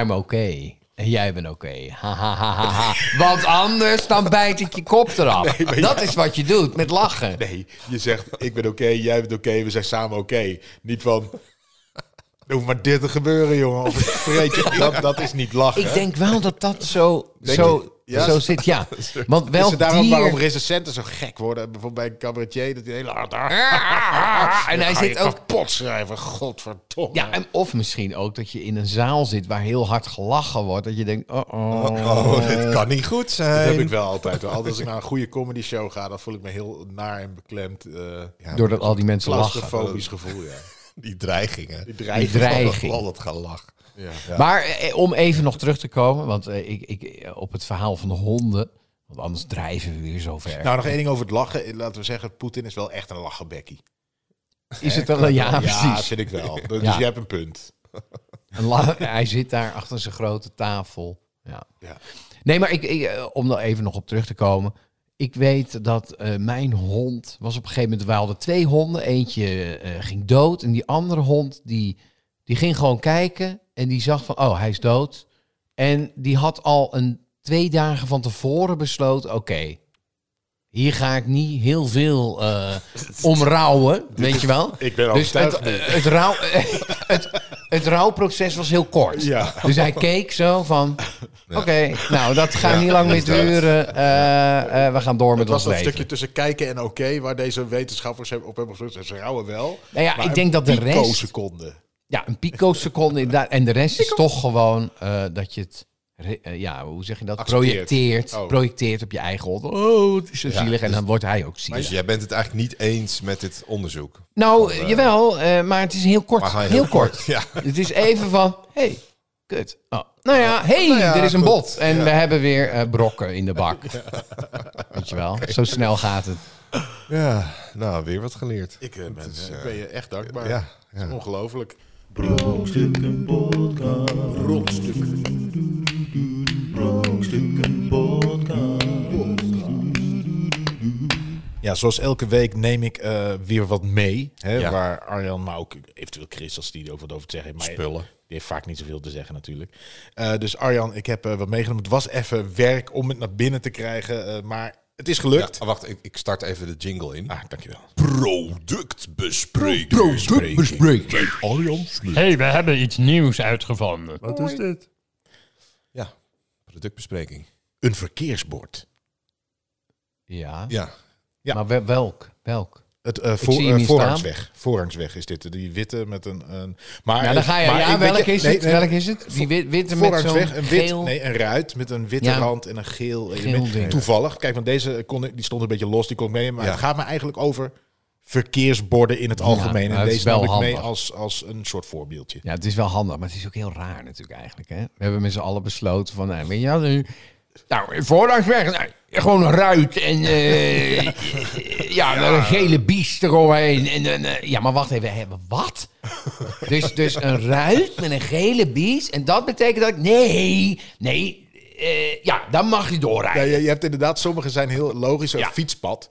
S3: I'm okay. En jij bent oké. Ha, ha, ha, ha, ha. Want anders dan bijt ik je kop eraf. dat is wat je doet met lachen.
S1: Nee, je zegt ik ben oké, jij bent oké, we zijn samen oké. Niet van. Er hoeft maar dit te gebeuren, jongen. Of ik vreet je. Dat, dat is niet lachen.
S3: Ik denk wel dat dat zo, zo,
S1: je? Ja.
S3: zo zit, ja. Want
S1: is
S3: wel
S1: het daarom
S3: dier...
S1: waarom recensenten zo gek worden? Bijvoorbeeld bij een cabaretier, dat hij heel hard...
S3: Ah, En hij zit ook
S1: pot schrijven, godverdomme.
S3: Ja, en of eh, misschien ook dat je in een zaal zit waar heel hard gelachen wordt. Dat je denkt, oh oh.
S2: Oh, dit kan niet goed zijn.
S1: Eh. Dat heb ik wel altijd. wel. Altijd als ik naar een goede comedy show ga, dan voel ik me heel naar en beklemd. eh
S3: Doordat al die mensen lachen.
S1: claustrofobisch gevoel, ja.
S2: Die dreigingen.
S1: Die
S3: Die
S1: dreiging.
S3: dreiging.
S2: Al dat gelach.
S3: Maar eh, om even nog terug te komen, want eh, ik, ik, eh, op het verhaal van de honden. Want anders drijven we weer zo ver.
S1: Nou, nog één ding over het lachen. Laten we zeggen, Poetin is wel echt een lachenbekkie.
S3: is het wel een ja,
S1: Ja,
S3: precies.
S1: vind ik wel. Dus
S3: Ja.
S1: je hebt een punt.
S3: Een la- hij zit daar achter zijn grote tafel. Ja.
S1: Ja.
S3: Nee, maar ik, ik, eh, om daar even nog op terug te komen. Ik weet dat eh, mijn hond was op een gegeven moment... We hadden twee honden. Eentje eh, ging dood. En die andere hond, die, die ging gewoon kijken. En die zag van, oh, hij is dood. En die had al een twee dagen van tevoren besloten... Oké, hier ga ik niet heel veel eh om rouwen, weet je wel.
S1: Ik ben
S3: Dus het,
S1: overtuigd nu.
S3: eh, het, rouw, het, het rouwproces was heel kort.
S1: Ja.
S3: Dus hij keek zo van... Oké, nou, dat gaat niet lang meer duren. Eh, eh, we gaan door met
S1: Het was
S3: ons
S1: dat
S3: leven.
S1: stukje tussen kijken en oké, waar deze wetenschappers hebben- op hebben gezegd, ze rouwen wel.
S3: Nou ja,
S1: maar
S3: ik denk dat de rest...
S1: seconden.
S3: Ja, een picoseconde inderdaad. En de rest is toch gewoon eh, dat je het... re- eh, ja, hoe zeg je dat?
S1: Accepteert.
S3: Projecteert.
S1: Oh.
S3: Projecteert op je eigen hond. Oh, het is zo zielig. En dan wordt hij ook zielig.
S2: Dus jij bent het eigenlijk niet eens met dit onderzoek.
S3: Nou, jawel, eh, maar het is heel kort.
S2: Maar ga je
S3: Heel,
S2: heel
S3: kort.
S2: kort, ja.
S3: Het is even van, hey, kut. Oh, nou ja, hey, er is een
S2: goed.
S3: bot. En we hebben weer eh, brokken in de bak. Weet je wel, zo snel gaat het.
S2: Ja, nou, weer wat geleerd.
S1: Ik eh, ben, eh, ben je echt dankbaar.
S2: ja,
S1: Het is ongelooflijk.
S4: Brokstukken podcast.
S1: Rotstukken.
S4: Brokstukken podcast.
S1: Ja, zoals elke week neem ik eh, weer wat mee. Hè,
S2: Ja.
S1: Waar Arjan, maar ook eventueel Chris, als die er ook wat over te zeggen heeft. Maar
S2: Spullen.
S1: Die heeft vaak niet zoveel te zeggen natuurlijk. Eh, dus Arjan, ik heb eh, wat meegenomen. Het was even werk om het naar binnen te krijgen, eh, maar het is
S2: Ja,
S1: gelukt.
S2: wacht, ik, ik start even de jingle in.
S1: Ah, dankjewel.
S2: Productbespreking. Productbespreking. Arjan Smit.
S5: hey, we hebben iets nieuws uitgevonden.
S2: Wat is dit? Ja, productbespreking.
S1: Een verkeersbord.
S3: Ja,
S2: Ja,
S1: Ja.
S3: maar wel- welk? Welk?
S1: Het eh
S3: zie
S1: voor,
S3: hem
S1: eh,
S3: niet
S1: voorrangsweg. Voorrangsweg is dit. eh, Die witte met een... een maar,
S3: Ja, dan ga je.
S1: maar
S3: Ja,
S1: ik- weet
S3: welk
S1: je-
S3: is
S1: nee,
S3: het?
S1: nee,
S3: Welk is het? Die wit- witte met zo'n
S1: Voorrangsweg, een wit,
S3: geel...
S1: nee, een ruit met een witte
S3: Ja.
S1: rand en een geel.
S3: Geel
S1: element.
S3: ding.
S1: Toevallig, kijk, want deze kon, ik- die stond een beetje los, die kon ik meenemen. Maar
S2: Ja.
S1: het gaat me eigenlijk over verkeersborden in het algemeen. en
S3: maar het nou, is
S1: deze nam
S3: wel
S1: ik mee
S3: handig.
S1: als, als een soort voorbeeldje.
S3: Ja, het is wel handig, maar het is ook heel raar natuurlijk eigenlijk. Hè? We hebben met z'n allen besloten van, nou, weet je wel, nu- nou, voorlangs weg, nou, gewoon een ruit en eh, ja, dan een gele bies eroverheen. En, dan, eh, ja, maar wacht even, we hebben wat? dus, dus een ruit met een gele bies en dat betekent dat ik, nee, nee, eh, ja, dan mag je
S1: Ja,
S3: doorrijden.
S1: je, je hebt inderdaad, sommige zijn heel logisch. Een
S3: Ja.
S1: fietspad.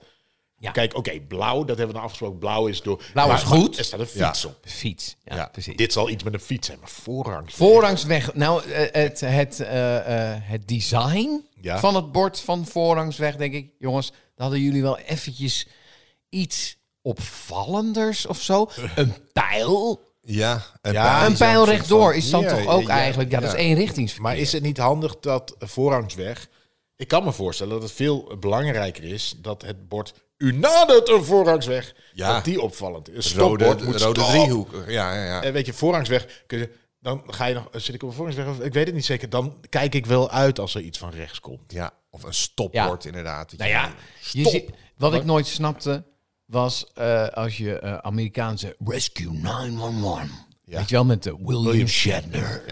S3: Ja.
S1: Kijk, oké, blauw, dat hebben we dan afgesproken. Blauw is door.
S3: Blauw
S1: Maar-
S3: is goed.
S1: maar Er staat een fiets
S2: Ja.
S1: op.
S3: Fiets, ja,
S2: Ja,
S3: precies.
S1: Dit zal iets met een fiets zijn, maar voorrangs.
S3: Voorrangsweg. Nou, eh, het, het, eh, eh, het design
S1: Ja.
S3: van het bord van Voorrangsweg, denk ik. Jongens, dan hadden jullie wel eventjes iets opvallenders of zo.
S2: Eh.
S3: Een pijl.
S2: ja. Een,
S1: Ja,
S3: een pijl rechtdoor is dan
S2: Ja,
S3: toch ook
S2: ja,
S3: eigenlijk... Ja, dat is
S2: ja.
S3: één richtingsverkeer.
S1: Maar is het niet handig dat voorrangsweg... Ik kan me voorstellen dat het veel belangrijker is dat het bord... U nadert een voorrangsweg,
S2: Ja.
S1: dat die opvallend is. Een
S2: Rode,
S1: stopbord moet
S2: rode
S1: stop.
S2: driehoek. Ja, ja, ja.
S1: En weet je, voorrangsweg... kun je- dan ga je nog, zit ik op een voorrangsweg, of- ik weet het niet zeker. Dan kijk ik wel uit als er iets van rechts komt.
S2: ja. Of een stopbord inderdaad. Dat
S3: Nou
S2: je-
S3: ja, je
S2: Stop.
S3: ziet- wat ik nooit snapte was eh, als je eh, Amerikaanse Rescue 911, weet je wel, met de William, Shatner.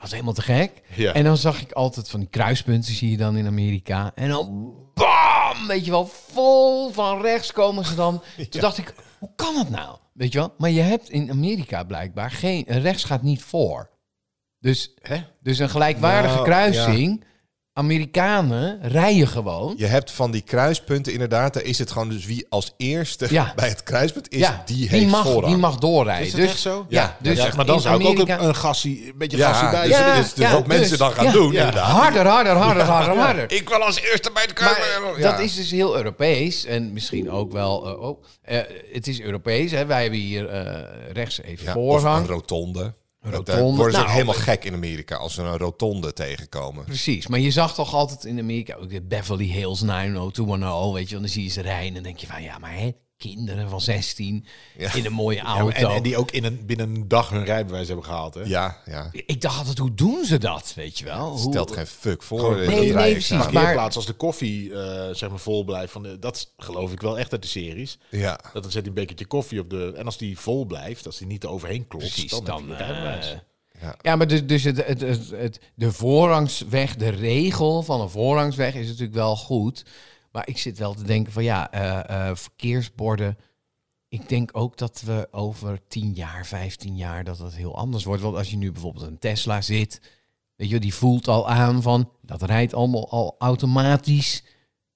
S3: was helemaal te gek.
S1: Ja.
S3: En dan zag ik altijd van die kruispunten zie je dan in Amerika. En dan bam, weet je wel, vol van rechts komen ze dan. Toen dacht ik, hoe kan dat nou? Weet je wel, maar je hebt in Amerika blijkbaar geen, eh, rechts gaat niet voor. Dus,
S1: Hè?
S3: dus een gelijkwaardige
S2: Nou,
S3: kruising, Amerikanen rijden gewoon.
S2: Je hebt van die kruispunten inderdaad, daar is het gewoon dus wie als eerste
S3: Ja.
S2: bij het kruispunt is, die, heeft
S3: mag,
S2: voorrang.
S3: Die mag doorrijden.
S1: Is dat
S3: dus,
S1: echt zo?
S3: Ja,
S2: Ja,
S3: dus
S1: Ja, maar dan
S3: in
S1: zou ik ook
S3: Amerika-
S1: een, een gassie, een beetje gassie
S2: ja,
S1: bij.
S2: dus,
S1: zitten.
S3: Ja,
S2: dus, dus
S3: ja,
S2: wat
S3: dus-
S2: mensen dan gaan
S3: ja.
S2: doen
S1: Ja.
S2: inderdaad.
S3: Harder, harder, harder, harder, harder.
S2: Ik wil als eerste bij de
S3: Maar
S2: kruispunt.
S3: dat is dus heel Europees en misschien ook wel. eh, oh, eh, het is Europees. Hè. Wij hebben hier eh, rechts even
S2: Ja, of een
S3: voorrang.
S2: rotonde.
S3: Rotonde.
S2: Daar worden ze
S3: Nou,
S2: ook helemaal gek in Amerika als ze een rotonde tegenkomen.
S3: Precies, maar je zag toch altijd in Amerika ook de Beverly Hills 90210, weet je, want dan zie je ze rijden en dan denk je van ja, maar hè, kinderen van 16
S2: Ja.
S3: in een mooie
S1: Ja,
S3: auto.
S1: Nou, en, en die ook in een, binnen een dag hun rijbewijs hebben gehaald. Hè?
S2: Ja, ja.
S3: Ik dacht altijd, hoe doen ze dat, weet je wel? Hoe-
S2: Stelt geen fuck voor.
S1: Gewoon-
S2: eh,
S1: Nee,
S2: dat
S1: nee,
S2: rijexamen.
S3: precies. Maar-
S1: Parkeerplaats als de koffie eh, zeg maar vol blijft. Van de, dat is- geloof ik wel echt uit de series.
S2: Ja.
S1: Dat dan zet hij een bekertje koffie op de... En als die vol blijft, als die niet eroverheen klopt...
S3: Precies,
S1: dan,
S3: dan,
S1: heb je het rijbewijs.
S3: eh, ja. maar dus, dus het, het, het, het- de voorrangsweg, de regel van een voorrangsweg is natuurlijk wel goed. Maar ik zit wel te denken van ja, eh, eh, verkeersborden. Ik denk ook dat we over 10 jaar, 15 jaar, dat dat heel anders wordt. Want als je nu bijvoorbeeld een Tesla zit, Weet je, die voelt al aan van, dat rijdt allemaal al automatisch.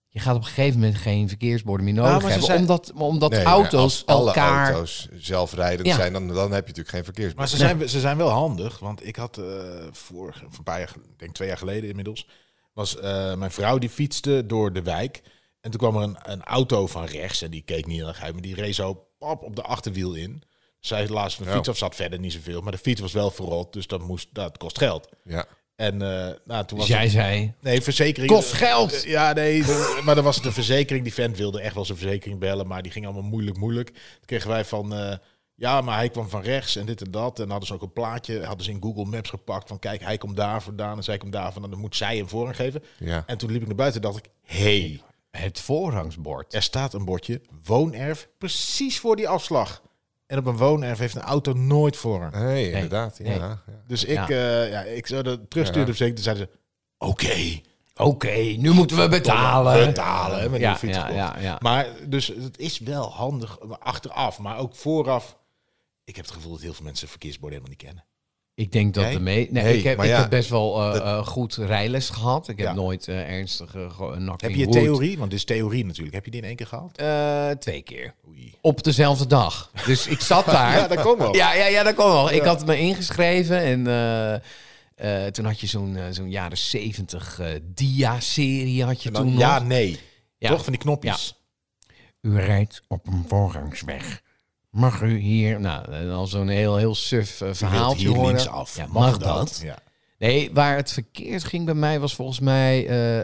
S3: Je gaat op een gegeven moment geen verkeersborden meer nodig
S2: maar ze
S3: hebben.
S2: zijn-
S3: omdat omdat
S2: Nee, maar
S3: auto's
S2: als alle
S3: elkaar...
S2: auto's zelfrijdend
S3: Ja.
S2: zijn, dan, dan heb je natuurlijk geen verkeers.
S1: Maar ze, zijn, ze zijn wel handig, want ik had eh vorig, of een paar jaar, gel- ik denk twee jaar geleden inmiddels, was eh, mijn vrouw die fietste door de wijk. En toen kwam er een, een auto van rechts en die keek niet heel erg uit, maar die reed zo pap op de achterwiel in. Zij laatst mijn
S2: Ja.
S1: fiets af, zat verder niet zoveel, maar de fiets was wel verrot, dus dat, moest, dat kost geld.
S2: Ja.
S1: En eh, nou, toen
S3: Dus
S1: was
S3: jij
S1: het-
S3: zei,
S1: nee, verzekering...
S3: kost geld!
S1: Eh, Ja, nee, de- maar dan was het een verzekering. Die vent wilde echt wel zijn verzekering bellen, maar die ging allemaal moeilijk, moeilijk. Toen kregen wij van, eh, ja, maar hij kwam van rechts en dit en dat. En dan hadden ze ook een plaatje, hadden ze in Google Maps gepakt van, kijk, hij komt daar vandaan en zij komt daar vandaan. Dan moet zij hem voorrang geven.
S2: Ja.
S1: En toen liep ik naar buiten en dacht ik, hey,
S3: Het voorrangsbord.
S1: er staat een bordje woonerf precies voor die afslag. En op een woonerf heeft een auto nooit voorrang.
S2: Nee, inderdaad.
S3: nee.
S2: Ja, ja.
S1: Dus ik,
S3: Ja.
S1: ja. ja, ik zou dat terugsturen, zeker. Toen zeiden ze, oké,
S3: Oké, nu moeten we betalen.
S1: betalen. hè, Met
S3: Ja,
S1: een fiets
S3: ja,
S1: gekocht.
S3: ja, ja.
S1: Maar dus het is wel handig maar achteraf, maar ook vooraf. Ik heb het gevoel dat heel veel mensen verkeersborden helemaal niet kennen.
S3: Ik denk dat
S1: Jij?
S3: de mee. Nee,
S2: Nee,
S3: ik, heb,
S2: maar
S3: ik
S2: ja,
S3: heb best wel eh,
S2: dat-
S3: eh, goed rijles gehad. Ik heb
S1: Ja.
S3: nooit eh, ernstig eh, ge- een nak
S1: Heb
S3: in
S1: je
S3: de hoed.
S1: theorie? Want dit is theorie natuurlijk. Heb je die in één keer gehaald?
S3: Eh, twee keer.
S1: Oei.
S3: Op dezelfde dag. Dus ik zat daar.
S1: Ja, daar komen we. op.
S3: Ja, ja, ja, dat kon wel. Ik had me ingeschreven en eh, eh, toen had je zo'n eh, zo'n jaren zeventig eh, dia-serie had je
S1: En dan
S3: toen
S1: ja,
S3: nog.
S1: nee.
S3: Ja.
S1: Toch van die knopjes.
S3: U rijdt op een voorrangsweg. Mag u hier... Nou, eh, al zo'n heel, heel suf eh,
S1: Je wilt
S3: verhaaltje
S1: hier
S3: horen.
S1: links af.
S3: Ja, mag dat?
S1: Ja.
S3: Nee, waar het verkeerd ging bij mij was volgens mij... eh,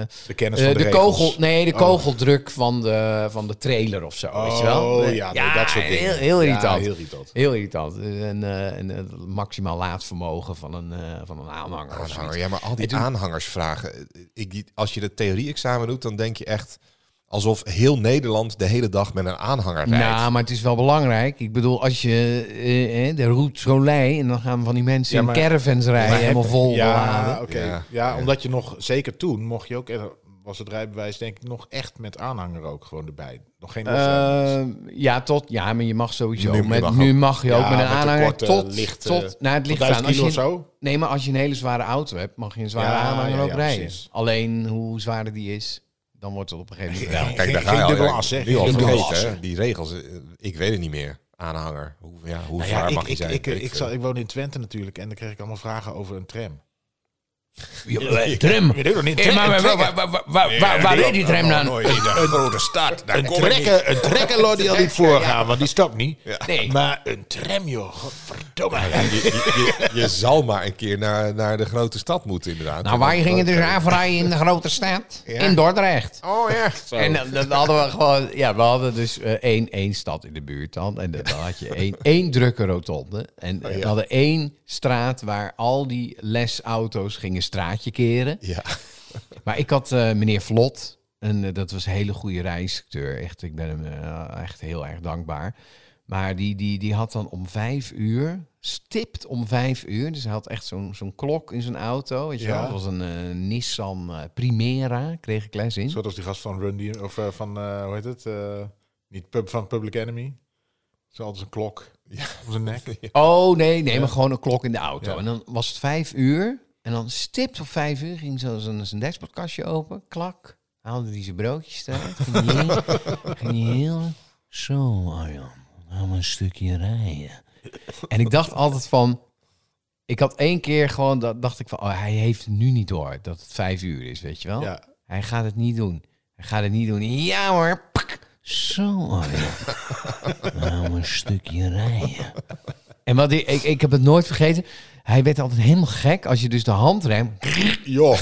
S3: eh,
S1: De kennis
S3: Eh,
S1: van de,
S3: de,
S1: regels.
S3: kogel, nee, de
S1: Oh.
S3: kogeldruk van de, van de trailer of zo, weet je wel?
S1: Oh ja, nee, dat soort dingen.
S3: Heel, heel
S1: Ja,
S3: irritant. heel...
S1: heel irritant.
S3: irritant. Eh, En, eh, en het maximaal laadvermogen van een, eh, van een
S1: Oh,
S3: aanhanger. of
S2: Aanhanger.
S3: zoiets.
S2: Nou, Ja, maar al die
S3: En toen-
S2: aanhangersvragen. eh, Ik, die- als je dat theorie-examen doet, dan denk je echt alsof heel Nederland de hele dag met een aanhanger rijdt.
S3: Nou, maar het is wel belangrijk. Ik bedoel, als je eh, eh, de route zo lei en dan gaan van die mensen
S1: Ja,
S3: in
S1: maar-
S3: caravans rijden,
S1: Maar heb-
S3: helemaal vol beladen.
S1: Ja, oké.
S2: Ja.
S1: Ja, omdat je nog, zeker toen, mocht je ook, eh, was het rijbewijs denk ik nog echt met aanhanger ook gewoon erbij. Nog geen losrijbewijs.
S3: Eh, ja, tot. Ja, maar je mag sowieso.
S2: Nu-
S3: Nu,
S2: nu
S3: met,
S2: mag
S3: nu
S2: ook.
S3: mag je ook
S1: Ja,
S3: met een
S1: met de
S3: aanhanger
S1: korte,
S3: tot,
S1: lichte-
S3: tot. Nou, het
S1: Tot
S3: ligt eraan.
S1: 1000
S3: Als je,
S1: kilo of zo?
S3: Nee, maar als je een hele zware auto hebt, mag je een zware
S1: Ja,
S3: aanhanger
S1: ja,
S3: ook
S1: ja,
S3: rijden.
S1: precies.
S3: Alleen hoe zwaarder die is, dan wordt het op een gegeven
S2: Kijk,
S3: moment.
S2: daar
S1: Geen-
S2: ga je
S1: geen
S2: al.
S1: dubbele
S2: Ja,
S1: as, hè?
S2: Nu al
S1: Geen dubbele
S2: vergeten,
S1: as.
S2: hè? Die regels, eh, ik weet het niet meer. Aanhanger. Hoe, ja, hoe
S1: Nou ja,
S2: zwaar
S1: ik,
S2: mag
S1: ik,
S2: die zijn?
S1: Ik,
S2: Weet
S1: ik,
S2: veel.
S1: zal, ik woon in Twente natuurlijk en dan kreeg ik allemaal vragen over een tram.
S3: Ja, tram.
S1: Je doet nog niet
S3: Eh, maar waar- waar- waar- waar- waar- waar- Waar reed die tram dan?
S2: Nooit in de grote stad. Daar
S1: Een
S2: kom ik niet.
S1: trekker, een trekkerlor die al niet voorgaan, want die stapt niet.
S3: Nee.
S1: Maar een tram, joh. Godverdomme.
S2: Je, je, je, je zal maar een keer naar, naar de grote stad moeten, inderdaad.
S3: Nou, wij gingen dus afrijden in de grote stad. In Dordrecht.
S2: Oh ja.
S3: En dan, dan hadden we gewoon, ja, we hadden dus eh, één, één stad in de buurt dan. En dan had je één, één drukke rotonde. En eh, we hadden één straat waar al die lesauto's gingen straatje keren.
S2: Ja.
S3: Maar ik had eh, meneer Vlot, en eh, dat was een hele goede rijinstructeur. Echt, ik ben hem eh, echt heel erg dankbaar. Maar die, die, die had dan om vijf uur, stipt om vijf uur. Dus hij had echt zo'n zo'n klok in zijn auto. Weet je
S1: Ja.
S3: wel? Dat was een eh, Nissan eh, Primera, kreeg ik les in.
S1: Zoals die gast van Rundy, of eh, van, eh, hoe heet het? Eh, niet pub, van Public Enemy. Ze altijd een klok op zijn nek.
S3: Oh nee, nee, maar gewoon een klok in de auto.
S1: Ja.
S3: En dan was het vijf uur. En dan stipt op vijf uur ging zo zijn, zijn dashboardkastje open. Klak. Haalde hij zijn broodjes eruit. Ging hij heel... ging hij heel zo, Arjan. Gaan we een stukje rijden. En ik dacht altijd van... Ik had één keer gewoon... Dat, dacht ik van... Oh, hij heeft het nu niet door dat het vijf uur is, weet je wel?
S1: Ja.
S3: Hij gaat het niet doen. Hij gaat het niet doen. Ja hoor. Pak. Zo, Arjan. Gaan we een stukje rijden. En wat ik, ik, ik heb het nooit vergeten. Hij werd altijd helemaal gek als je dus de handrem.
S1: Joh,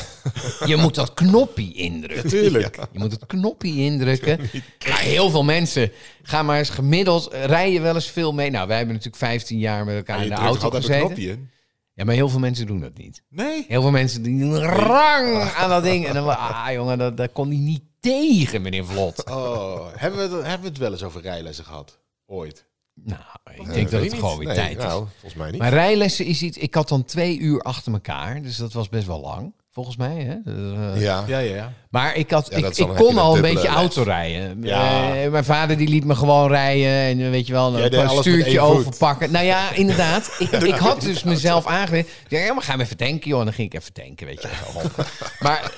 S3: Je moet dat knopje indrukken.
S1: tuurlijk.
S3: Je moet het knopje indrukken. Ja, heel veel mensen gaan maar eens gemiddeld eh, rijden wel eens veel mee. Nou, wij hebben natuurlijk 15 jaar met elkaar
S1: Je
S3: in de
S1: drukt
S3: auto
S1: altijd een
S3: gezeten.
S1: knopje in.
S3: Ja, maar heel veel mensen doen dat niet.
S1: Nee.
S3: Heel veel mensen die doen rang aan dat ding. En dan, ah jongen, dat, dat kon hij niet tegen, meneer Vlot.
S1: Oh, hebben we, het, hebben we het wel eens over rijlessen gehad? Ooit.
S3: Nou, ik denk
S2: Eh,
S3: dat het gewoon weer
S2: Nee,
S3: tijd is.
S2: Nou, volgens mij niet.
S3: Maar rijlessen is iets. Ik had dan twee uur achter elkaar, dus dat was best wel lang. Volgens mij, hè? Eh,
S2: Ja.
S1: Ja, ja, ja.
S3: Maar ik, had,
S2: Ja, dat
S3: ik,
S2: is dan-
S3: ik
S2: heb je
S3: kon
S2: een
S3: al een
S2: dubbele
S3: beetje
S2: les.
S3: autorijden.
S1: Ja.
S3: Eh, mijn vader die liet me gewoon rijden. En eh, weet je wel,
S1: Jij
S3: een
S1: deed
S3: paar
S1: alles met
S3: stuurtje
S1: één voet.
S3: overpakken. Nou ja, inderdaad. ik, ik had dus mezelf aangeleerd. Ik zei, ja, maar ga hem even tanken, joh. En dan ging ik even tanken, weet je wel. zo. maar,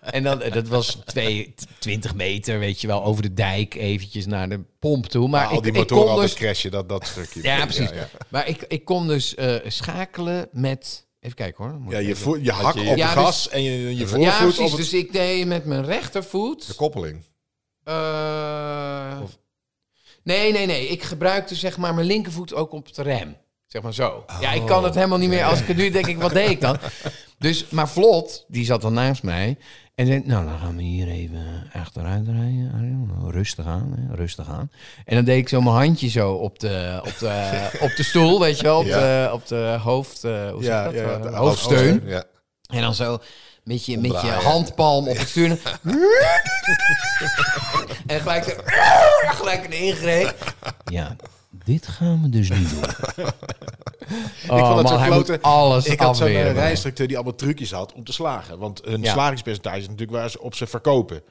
S3: en dan, eh, dat was twee, t- 20 meter, weet je wel, over de dijk eventjes naar de pomp toe. Maar
S1: Nou, al
S3: ik,
S1: die
S3: ik
S1: motoren
S3: kon
S1: altijd
S3: dus...
S1: crashen, dat, dat stukje.
S3: Ja, precies.
S1: Ja,
S3: Maar ik, ik kon dus eh, schakelen met... Even kijken hoor. Moet
S1: Ja,
S3: ik
S1: je,
S3: even-
S1: voet, je hak
S2: je-
S1: op
S3: Ja, dus-
S1: gas en je, je
S3: ja,
S1: voorvoet
S3: precies.
S1: op het...
S3: Dus ik deed met mijn rechtervoet...
S2: De koppeling.
S3: Eh, Nee, nee, nee. Ik gebruikte zeg maar mijn linkervoet ook op de rem. Zeg maar zo. Ja, ik
S1: Oh.
S3: kan het helemaal niet meer. Als ik het nu denk, ik, wat deed ik dan? Dus, maar Vlot, die zat dan naast mij. En zei, nou, dan gaan we hier even achteruit rijden. Arjan. Rustig aan, hè, rustig aan. En dan deed ik zo mijn handje zo op de, op de, op de stoel, weet je wel. Op,
S2: Ja.
S3: de, op de hoofd... eh, hoe zeg
S1: Ja,
S3: je dat?
S1: ja,
S3: Eh,
S1: de
S3: hoofdsteun.
S2: Oh, Ja.
S3: En dan zo met je, met je
S2: Omdraaien.
S3: handpalm op het stuur. en gelijk, zo, gelijk een ingreep. Ja, dit gaan we dus niet doen. Oh,
S1: ik vond het
S3: man,
S1: zo
S3: hij
S1: klote.
S3: moet alles
S1: Ik had zo'n eh,
S3: afweren.
S1: rijinstructeur die allemaal trucjes had om te slagen. Want hun
S3: Ja.
S1: slagingspercentage is natuurlijk waar ze op ze verkopen.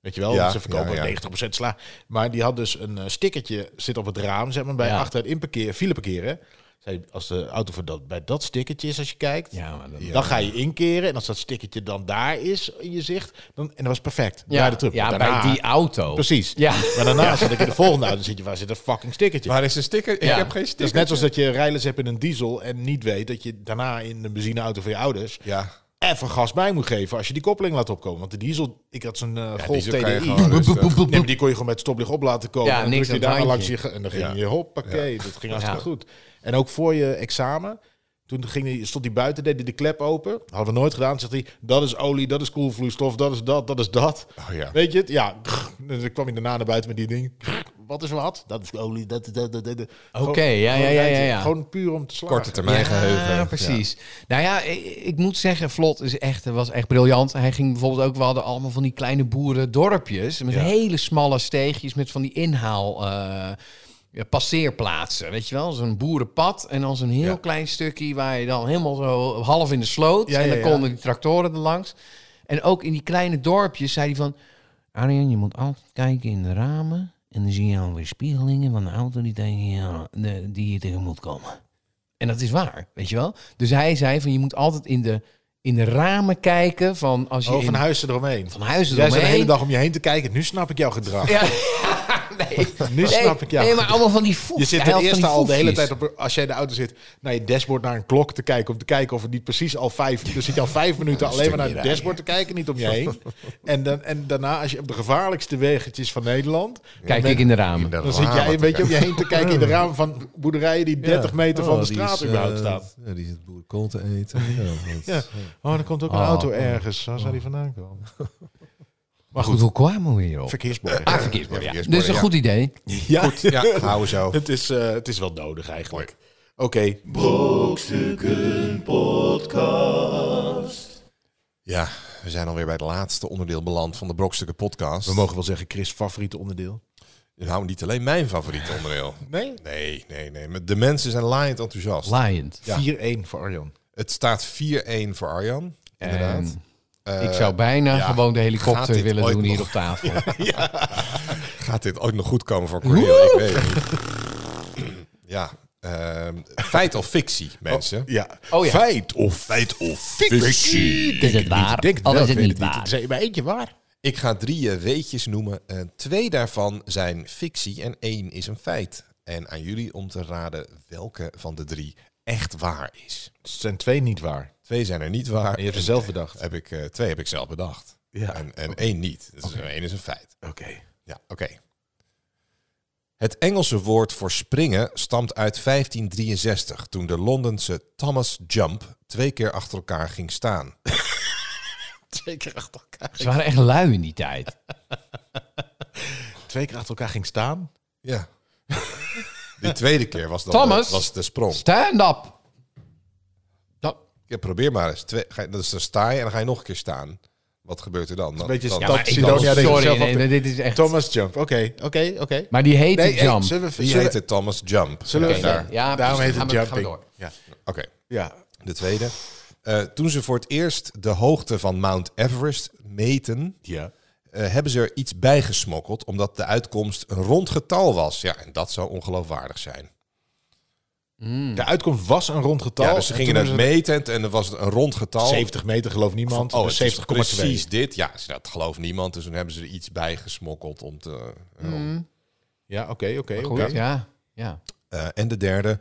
S1: Weet je wel,
S2: Ja,
S1: ze verkopen
S2: ja, ja.
S1: 90% sla. Maar die had dus een eh, stickertje zit op het raam, zeg maar, bij
S3: Ja.
S1: achteruit inparkeer, file parkeren. Zei, als de auto voor dat, bij dat stickertje is, als je kijkt,
S3: Ja, maar dat-
S1: dan ga je inkeren. En als dat stickertje dan daar is in je zicht, dan, en dat was perfect. Ja, de truc.
S3: ja,
S1: Maar daarna-
S3: bij die auto.
S1: Precies.
S3: Ja.
S1: Maar daarna zit ik in de volgende auto, zit je, waar zit een fucking stickertje?
S2: Waar is een sticker? Ik
S3: Ja.
S2: heb geen
S1: Het is
S2: sticker.
S1: net zoals dat je rijles hebt in een diesel en niet weet dat je daarna in een benzineauto van je ouders
S2: Ja.
S1: even gas bij moet geven als je die koppeling laat opkomen. Want de diesel, ik had zo'n eh Golf
S2: diesel
S1: TDI.
S2: kan je gewoon eh,
S1: Boep, boep,
S2: rustig.
S1: boep, boep. Nee, maar die kon je gewoon met stoplicht op laten komen.
S3: Ja,
S1: en dan
S3: niks
S1: drukte je
S3: aan het
S1: daar langs
S3: handje.
S1: je... ge- En dan ging
S2: Ja.
S1: je hoppakee, dat ging hartstikke
S3: Ja.
S1: goed. En ook voor je examen, toen ging die, stond hij buiten, deed hij de klep open. Hadden we nooit gedaan. Zegt hij, dat is olie, dat is koelvloeistof, dat is dat, dat is dat.
S2: Oh ja.
S1: Weet je het? Ja. En Dan kwam hij daarna naar buiten met die ding. Wat is wat? Dat is olie, dat is dat, dat, dat. Gewoon-
S3: Oké, ja, ja,
S1: gewoon
S3: ja,
S1: rijden.
S3: ja, ja.
S1: Gewoon puur om te slagen.
S2: Korte termijn geheugen.
S3: Ja, precies. Nou ja, ik, ik moet zeggen, Vlot is echt, eh, was echt briljant. Hij ging bijvoorbeeld ook, we hadden allemaal van die kleine boerendorpjes. Met
S1: Ja.
S3: hele smalle steegjes met van die inhaal... eh, ja, passeerplaatsen, weet je wel? Zo'n boerenpad en dan zo'n heel
S1: Ja.
S3: klein stukje... waar je dan helemaal zo half in de sloot...
S1: Ja,
S3: en dan
S1: ja, ja.
S3: konden die tractoren er langs. En ook in die kleine dorpjes zei hij van... Arjen, je moet altijd kijken in de ramen... en dan zie je alweer spiegelingen van de auto die, tegen je, de- die je tegemoet komen. En dat is waar, weet je wel? Dus hij zei van je moet altijd in de, in de ramen kijken... van als je
S1: Oh, van
S3: in,
S1: huizen eromheen.
S3: van huizen
S1: Jij zit de hele
S3: eromheen...
S1: dag om je heen te kijken. Nu snap ik jouw gedrag.
S3: Ja, nee.
S1: Nu snap ik jou.
S3: Nee, maar allemaal van die voet.
S1: Je zit
S3: hij
S1: ten
S3: had van
S1: eerste
S3: die
S1: al de hele
S3: voetjes.
S1: tijd, op, als jij in de auto zit, naar je dashboard naar een klok te kijken. Om te kijken of het niet precies al vijf... Dan zit je al vijf minuten alleen maar naar het dashboard te kijken, niet om je heen. En, dan, en daarna, als je op de gevaarlijkste wegetjes van Nederland...
S3: Kijk
S1: dan-
S3: ik in de ramen.
S1: Dan zit jij een beetje om je heen te kijken in de raam van boerderijen Oh, die eh, 30 meter van de straat überhaupt staan.
S2: die zit boerenkool te eten.
S1: Ja. Oh, er komt ook een
S3: Oh,
S1: auto
S3: kom.
S1: ergens. Waar zou die vandaan komen?
S3: Maar goed, hoe kwamen we
S1: Oh.
S3: hierop?
S1: Verkeersbord.
S3: Ah, verkeersbord, ja.
S2: verkeersbord,
S3: Dus een
S2: ja.
S3: goed idee.
S1: Ja,
S2: Ja, houden zo.
S1: het, is, eh, het is wel nodig eigenlijk. Oké,
S4: Brokstukken Podcast.
S2: Ja, we zijn alweer bij het laatste onderdeel beland van de Brokstukken podcast.
S1: we mogen wel zeggen Chris' favoriete onderdeel.
S2: Nou, niet alleen mijn favoriete onderdeel.
S1: Nee?
S2: Nee, nee, nee. Maar De mensen zijn laaiend enthousiast.
S3: Lion.
S1: 4-1 voor Arjan.
S2: Het staat 4-1 voor Arjan. Inderdaad. Eh,
S3: ik zou bijna
S2: ja,
S3: gewoon de
S2: gaat
S3: helikopter
S2: dit
S3: willen
S2: ooit
S3: doen hier
S2: nog?
S3: op tafel.
S2: Gaat dit ooit nog goed komen voor Cornel? Ik weet het niet. Ja. ehm, feit of fictie, mensen?
S1: Ja.
S3: Oh ja.
S1: Feit of feit of fictie.
S3: Is het waar?
S1: Denk
S3: Of
S1: wel,
S3: is het
S1: ik weet
S3: niet
S1: Het
S3: waar?
S1: is maar eentje waar.
S2: Ik ga drie eh, weetjes noemen. Eh, twee daarvan zijn fictie en één is een feit. En aan jullie om te raden welke van de drie echt waar is.
S1: Het zijn twee niet waar.
S2: Twee zijn er niet waar.
S1: En je hebt ze zelf bedacht.
S2: Heb ik, eh, twee heb ik zelf bedacht.
S1: Ja.
S2: En, en één niet. Dus één is een feit.
S1: Oké.
S2: Ja, oké. Het Engelse woord voor springen stamt uit 1563, toen de Londense Thomas Jump twee keer achter elkaar ging staan.
S1: Twee keer achter elkaar.
S3: Ze waren echt lui in die tijd.
S1: Twee keer achter elkaar ging staan.
S2: Ja. Die tweede keer was, dan
S3: Thomas?
S2: De, was de sprong.
S3: Stand up! Dat-
S2: Ja, probeer maar eens. Twee, ga, je- dus dan sta je en dan ga je nog een keer staan. Wat gebeurt er dan? dan
S1: Een beetje
S2: dan-
S3: Ja,
S1: Dat
S3: maar ik
S1: Sidonia
S3: was,
S1: deed
S3: sorry,
S1: zichzelf
S3: nee,
S1: op de-
S3: nee, dit is echt...
S1: Thomas Jump. Oké, oké, oké.
S3: Maar die heette
S1: Nee, hey,
S3: Jump.
S1: zullen we...
S2: Die
S1: Zullen,
S2: heette Thomas Jump.
S1: zullen we
S2: Oké,
S3: verder?
S1: daar.
S3: Ja,
S1: Daarom
S3: precies.
S1: heet het
S3: Gaan we- gaan we
S1: Jumping.
S3: door.
S1: Ja.
S2: Oké,
S1: ja.
S2: de tweede. Eh, toen ze voor het eerst de hoogte van Mount Everest meten,
S1: Ja.
S2: eh, hebben ze er iets bij gesmokkeld, omdat de uitkomst een rond getal was. Ja, en dat zou ongeloofwaardig zijn.
S3: Hmm.
S1: De uitkomst was een rond getal.
S2: Ja, dus ze
S1: en
S2: gingen
S1: toen
S2: het
S1: hebben
S2: meten en- en dan was het een rond
S1: ze
S2: getal.
S1: 70 meter gelooft niemand.
S2: Van, oh,
S1: dus
S2: het is
S1: 70,2.
S2: precies dit. Ja, ze- dat gelooft niemand. Dus toen hebben ze er iets bij gesmokkeld om te... eh, om-
S1: Ja, oké, oké.
S3: Goed,
S1: oké.
S3: ja. ja.
S2: Eh, en de derde,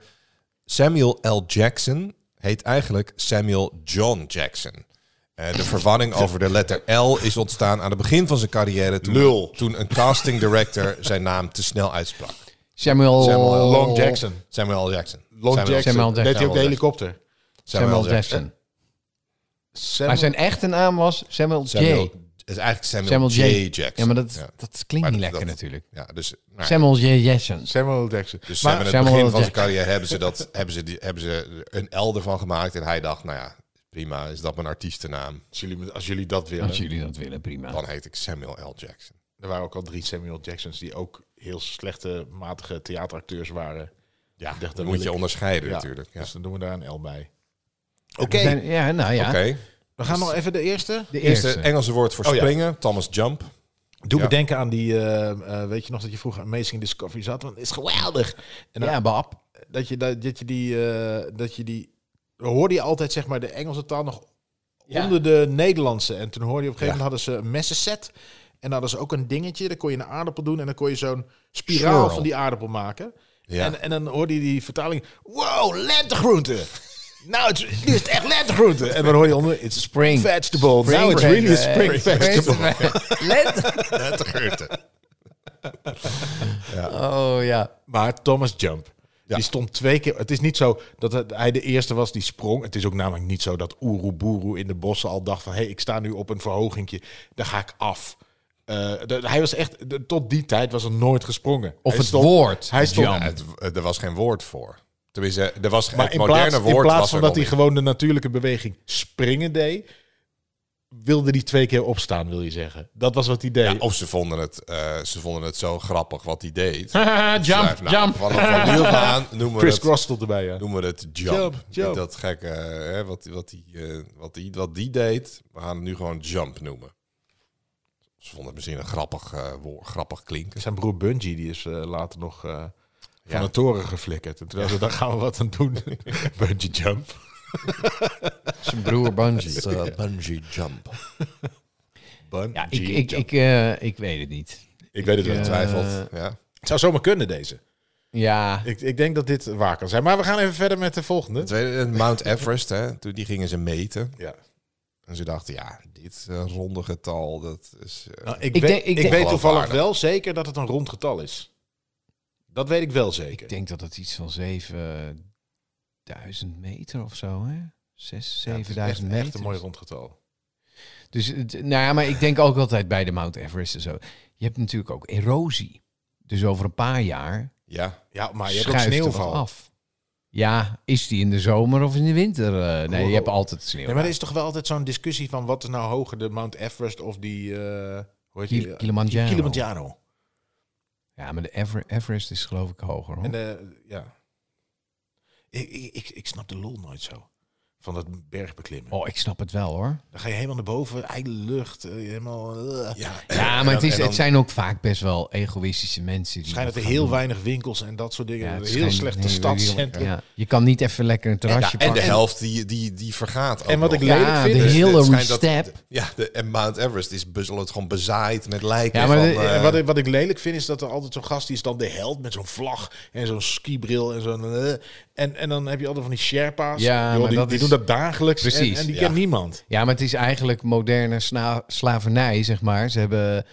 S2: Samuel L. Jackson heet eigenlijk Samuel John Jackson. Eh, de verwarring over de letter L is ontstaan aan het begin van zijn carrière. Toen,
S1: Lul.
S2: toen een casting director zijn naam te snel uitsprak.
S3: Samuel,
S2: Samuel
S1: Oh. Long Jackson.
S2: Samuel L. Jackson.
S1: Long
S2: Samuel
S1: Jackson.
S3: Samuel
S1: Deed hij ook de
S2: Jackson.
S1: helikopter?
S3: Samuel
S2: Jack-
S3: Jackson.
S1: Sam-
S3: Maar zijn echte naam was Samuel,
S2: Samuel,
S3: J.
S2: het is eigenlijk Samuel,
S3: Samuel J.
S2: J. Jackson.
S3: Ja, maar dat,
S2: Ja.
S3: dat klinkt
S2: Maar dat-
S3: niet lekker
S2: dat-
S3: natuurlijk.
S2: Ja, dus, nou,
S3: Samuel J. Jackson.
S1: Samuel Jackson.
S2: Dus ze
S1: Maar-
S2: hebben in het
S3: Samuel
S2: begin van zijn
S3: Jackson.
S2: carrière hebben ze, dat, hebben, ze die, hebben ze een L ervan gemaakt. En hij dacht, nou ja, prima, is dat mijn artiestennaam?
S1: als, jullie, als jullie dat willen.
S3: Als jullie dat willen, prima.
S2: Dan heet ik Samuel L. Jackson.
S1: Er waren ook al drie Samuel Jacksons die ook heel slechte, matige theateracteurs waren.
S2: Ja,
S1: Ik dacht,
S2: dat
S1: dat
S2: moet
S1: wil
S2: je
S1: ik.
S2: onderscheiden
S1: Ja.
S2: natuurlijk. Ja.
S1: Dus dan doen we daar een L bij. Oké,
S3: We zijn- Ja, nou ja.
S2: Oké,
S1: we gaan nog even de eerste.
S3: De
S2: eerste
S3: eerste.
S5: eh,
S2: Engelse woord voor
S1: Oh ja.
S2: springen, Thomas Jump.
S1: Doe
S2: Ja.
S1: me denken aan die, eh, eh, weet je nog dat je vroeger Amazing Discovery zat? Want het is geweldig. En dan,
S3: ja, Bab.
S1: dat, je, dat, dat je die, eh, dat je die, dan hoorde je altijd zeg maar de Engelse taal nog
S3: Ja.
S1: onder de Nederlandse. En toen hoorde je op een gegeven moment hadden ze een messenset. En dan hadden ze ook een dingetje, daar kon je een aardappel doen en dan kon je zo'n spiraal
S2: Swirl.
S1: van die aardappel maken.
S2: Ja.
S1: En, en dan hoorde je die vertaling, wow, lentegroente. nou, het, is- nu is het echt lentegroente. En dan hoor je onder, it's a spring
S3: Spring.
S1: vegetable. Now it's really a spring vegetable.
S3: Let.
S2: Met de geurte.
S3: Oh ja.
S1: Maar Thomas Jump.
S2: Ja.
S1: Die stond twee keer. Het is niet zo dat het- hij de eerste was die sprong. Het is ook namelijk niet zo dat Oeroeboeroe in de bossen al dacht van... hé, hey, ik sta nu op een verhogingje, daar ga ik af. Eh, de- hij was echt... de- tot die tijd was er nooit gesprongen.
S3: Of
S1: hij
S3: het
S1: stond-
S3: woord.
S1: Hij stond...
S2: Ja, het, eh, er was geen woord voor. Tenminste, er was
S1: maar
S2: het
S1: in
S2: moderne
S1: plaats, in
S2: woord
S1: plaats
S2: was
S1: van
S2: er
S1: dat hij
S2: nog niet.
S1: gewoon de natuurlijke beweging springen deed... wilde hij twee keer opstaan, wil je zeggen. Dat was wat hij deed.
S2: Ja, of ze vonden, het, eh, ze vonden het zo grappig wat hij deed.
S5: Haha, jump,
S2: Schrijf nou,
S5: jump.
S2: Vanaf van nu af aan noemen we
S1: Chris
S2: het
S1: Cross stond erbij, ja.
S2: noemen we het jump.
S1: Jump, jump.
S2: Niet dat gekke, hè, wat, wat, die, eh, wat, die, wat die deed, we gaan het nu gewoon jump noemen. Ze vonden het misschien een grappig, eh, woord, grappig klinken.
S1: Zijn broer Bungie die is eh, later nog eh,
S2: Ja.
S1: van de toren geflikkerd. En toen dachten we, daar gaan we wat aan doen. Bungee jump.
S3: Zijn broer Bungie.
S2: eh,
S1: eh,
S2: bungee jump.
S1: Bungee
S3: Ja, ik, ik,
S1: jump.
S3: ik, eh, ik weet het niet.
S1: Ik weet het wel.
S2: Ongetwijfeld, ja.
S1: Het zou zomaar kunnen deze.
S3: Ja.
S1: Ik, ik denk dat dit waar kan zijn. Maar we gaan even verder met de
S2: Het
S1: volgende.
S2: tweede, eh, Mount Everest, hè, toen die gingen ze meten.
S1: Ja.
S2: En ze dachten, ja, dit eh, ronde getal, dat is... eh,
S1: Nou, ik,
S3: Ik
S1: weet,
S3: denk- ik
S1: ik
S3: denk-
S1: weet toevallig
S2: Waardig.
S1: wel zeker dat het een rond getal is. Dat weet ik wel zeker.
S3: Ik denk dat het iets van 7000 meter of zo, hè? 6,
S1: Ja, het is
S3: 7000
S1: echt,
S3: meter.
S1: echt een mooi rond getal.
S3: Dus, het- nou ja, maar ik denk ook altijd bij de Mount Everest en zo. Je hebt natuurlijk ook erosie. Dus over een paar jaar
S2: ja,
S1: Ja, maar je hebt ook
S3: schuift er wat
S1: sneeuwval.
S3: af. Ja, is die in de zomer of in de winter? Eh, nee,
S1: Oh.
S3: je hebt altijd sneeuw.
S1: Nee, maar er is toch wel altijd zo'n discussie van wat is nou hoger, de Mount Everest of die... eh, hoe heet
S3: Kil-
S1: die?
S3: Kilimanjaro.
S1: Kilimanjaro.
S3: Ja, maar de Ever- Everest is geloof ik hoger, hoor.
S1: En eh, ja. Ik, ik, ik, ik snap de lol nooit zo. Van dat bergbeklimmen.
S3: Oh, ik snap het wel, hoor.
S1: Dan ga je helemaal naar boven, eigen lucht, eh, helemaal... eh.
S2: ja.
S3: Ja,
S2: En
S3: maar het,
S2: dan-
S3: is,
S2: en dan-
S3: het zijn ook vaak best wel egoïstische mensen. Die
S1: Schijnt dat
S3: dat
S1: er heel
S3: gaan doen.
S1: weinig winkels en dat soort dingen.
S3: Ja, het
S1: heel
S3: schijnt-
S1: slechte
S3: nee,
S1: stadscentrum.
S3: Ja, je kan niet even lekker een
S2: Ja,
S3: terrasje
S2: en de
S3: pakken.
S2: helft die, die, die vergaat ook
S1: En wat
S2: nog.
S1: ik lelijk
S3: Ja,
S1: vind...
S3: de
S1: is-
S2: Dus
S3: hele
S2: het schijnt dat-
S3: step.
S2: Ja, de, en Mount Everest is best wel het gewoon bezaaid met lijken.
S3: Ja, maar
S2: van,
S3: de-
S2: eh,
S1: eh, wat, ik, wat ik lelijk vind is dat er altijd zo'n gast die is dan de held met zo'n vlag en zo'n skibril en zo'n... eh. en, en dan heb je altijd van die Sherpa's.
S3: Ja,
S1: Joh,
S3: maar
S1: die,
S3: dat
S1: die
S3: is-
S1: doen dat dagelijks en-
S3: Precies,
S1: en, die
S2: ja.
S1: kent niemand.
S3: Ja, maar het is eigenlijk moderne sna- slavernij, zeg maar. Ze hebben,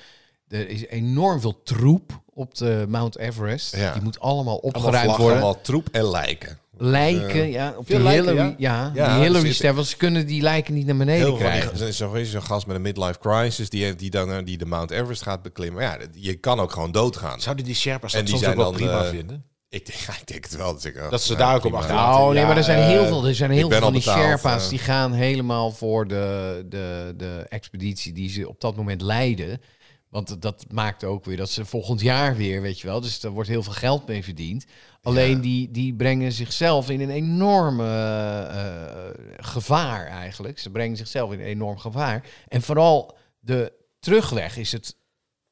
S3: er is enorm veel troep op de Mount Everest.
S2: Ja.
S3: Die moet allemaal
S2: allemaal
S3: opgeruimd
S2: vlaggen,
S3: worden.
S2: allemaal troep en lijken.
S3: Lijken, ja. Op
S1: veel
S3: die
S1: lijken,
S3: Hillary,
S1: ja.
S3: ja.
S2: Ja,
S3: die Hillary
S2: dus-
S3: ster, want ze kunnen die lijken niet naar beneden
S2: Heel veel van die,
S3: krijgen.
S2: er is zo- er is zo'n gast met een midlife crisis die, die, dan, eh, die de Mount Everest gaat beklimmen. Ja, dat- je kan ook gewoon doodgaan.
S1: Zouden die Sherpa's
S2: En
S1: dat
S2: die
S1: soms ook
S2: zijn
S1: wel
S2: dan,
S1: prima
S2: eh,
S1: vinden?
S2: Ik, denk- ja, ik denk het wel. Dat, ik,
S1: Dat ze
S2: ja,
S1: daar ook
S2: prima.
S1: op achteraan.
S3: Nou, nee, maar er zijn heel
S2: eh,
S3: veel, er zijn
S2: ik
S3: heel
S2: ben
S3: veel van
S2: al
S3: die
S2: betaald,
S3: Sherpa's
S2: eh.
S3: die gaan helemaal voor de, de, de expeditie die ze op dat moment leiden. Want dat maakt ook weer dat ze volgend jaar weer, weet je wel. Dus daar wordt heel veel geld mee verdiend. Alleen die, die brengen zichzelf in een enorme eh, eh, gevaar eigenlijk. Ze brengen zichzelf in een enorm gevaar. En vooral de terugweg is het,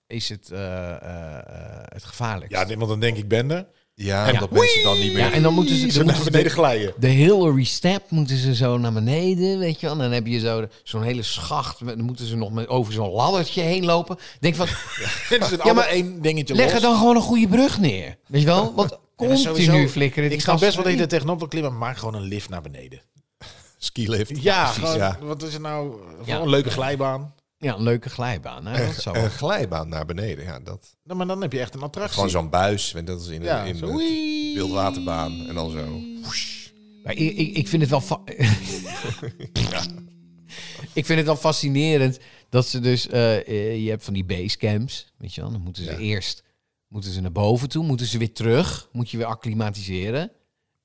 S3: is het, eh, eh, eh, het gevaarlijkst.
S1: Ja, dit- want dan denk ik ben er.
S2: Ja, en dat mensen dan niet meer...
S3: Ja, en dan moeten ze,
S1: Zo
S3: dan
S1: naar
S3: moeten ze
S1: beneden
S3: de,
S1: glijden.
S3: de Hillary step moeten ze zo naar beneden, weet je wel. En dan heb je zo de- zo'n hele schacht. met- Dan moeten ze nog met, over zo'n laddertje heen lopen. Denk van,
S1: Dit is het
S3: Ja, maar
S1: allemaal één dingetje
S3: leg
S1: los.
S3: er dan gewoon een goede brug neer. Weet je wel? Want
S1: maar
S3: continu
S1: sowieso,
S3: flikkeren die
S1: Ik snap best wel dat
S3: gasten
S1: je er tegenop wil klimmen, maar maak gewoon een lift naar beneden.
S2: Skilift.
S1: Ja,
S2: precies.
S1: gewoon,
S2: Ja.
S1: wat is het nou?
S3: Ja.
S1: Gewoon een leuke glijbaan.
S3: in. Ja, een leuke glijbaan. Hè? Dat zou wel-
S2: Oh. Een glijbaan naar beneden, ja. Dat.
S1: Nou, maar dan heb je echt een attractie.
S2: Gewoon zo'n buis, weet je, dat is in,
S1: ja,
S2: in
S1: zo,
S2: het
S1: wee.
S2: wildwaterbaan en dan zo.
S3: Maar ik, ik, ik vind het wel. fa- Ik vind het wel fascinerend dat ze dus. eh, eh, je hebt van die basecamps. Weet je wel, dan moeten ze
S2: Ja.
S3: eerst. Moeten ze naar boven toe, moeten ze weer terug. Moet je weer acclimatiseren.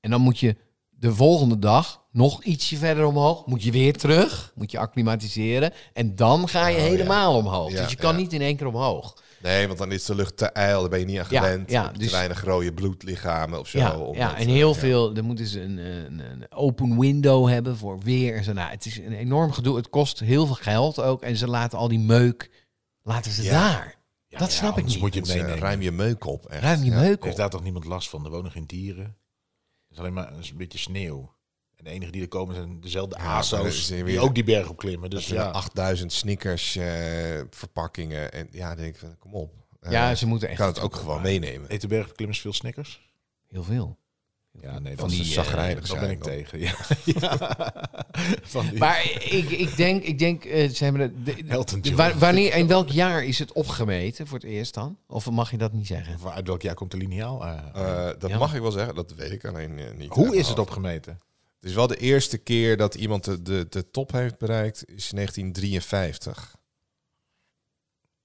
S3: En dan moet je de volgende dag nog ietsje verder omhoog. Moet je weer terug. Moet je acclimatiseren. En dan ga je
S2: Oh, ja.
S3: helemaal omhoog.
S2: Ja,
S3: dus je kan
S2: ja.
S3: niet in één keer omhoog.
S2: Nee, want dan is de lucht te ijl, daar ben je niet aan
S3: Ja,
S2: gewend.
S3: ja,
S2: Heb je
S3: dus-
S2: te weinig rode bloedlichamen of zo.
S3: Ja,
S2: om
S3: ja
S2: dat,
S3: en
S2: eh,
S3: heel
S2: ja.
S3: veel. Dan moeten ze een, eh, een, een open window hebben voor weer en zo. Nou, het is een enorm gedoe. Het kost heel veel geld ook. En ze laten al die meuk, laten ze
S2: Ja.
S3: daar.
S1: Ja,
S3: dat
S1: ja,
S3: snap ik
S1: anders
S3: niet.
S1: moet je
S2: Dus,
S1: het
S2: eh,
S1: meenemen.
S2: ruim je meuk op. echt.
S3: Ruim
S2: Ja.
S3: je
S2: Dus
S3: meuk
S1: Heeft
S3: op.
S1: daar toch niemand last van? Er wonen geen dieren. Er is alleen maar een beetje sneeuw. En de enigen die er komen zijn dezelfde
S2: Ja, maar dat
S1: ASO's
S2: is weer-
S1: die ook die berg op klimmen. Dus
S2: Dus ja.
S1: ja,
S2: 8000 sneakers eh, verpakkingen. En ja, dan denk ik, van, kom op. Eh,
S3: Ja, ze moeten
S2: ik
S3: echt
S2: kan het ook gewoon meenemen.
S1: eten bergklimmers veel snickers?
S3: heel veel.
S1: Ja, nee,
S2: Van die
S1: eh,
S2: chagrijnig
S1: daar
S2: zijn
S1: ben ik
S2: dan.
S1: tegen. Ja. Ja. Van die-
S3: Maar ik, ik denk, ik denk eh, ze hebben het- de-
S1: Elton
S3: de-
S1: John.
S3: wa- wanneer, in welk jaar is het opgemeten voor het eerst dan? Of mag je dat niet zeggen?
S1: Van Uit welk jaar komt de lineaal? eh?
S2: Eh, dat
S3: Ja.
S2: mag ik wel zeggen, dat weet ik alleen eh, niet. uit
S1: Hoe
S2: mijn
S1: is het
S2: hoofd.
S1: opgemeten?
S2: Het is wel de eerste keer dat iemand de, de, de top heeft bereikt, is 1953.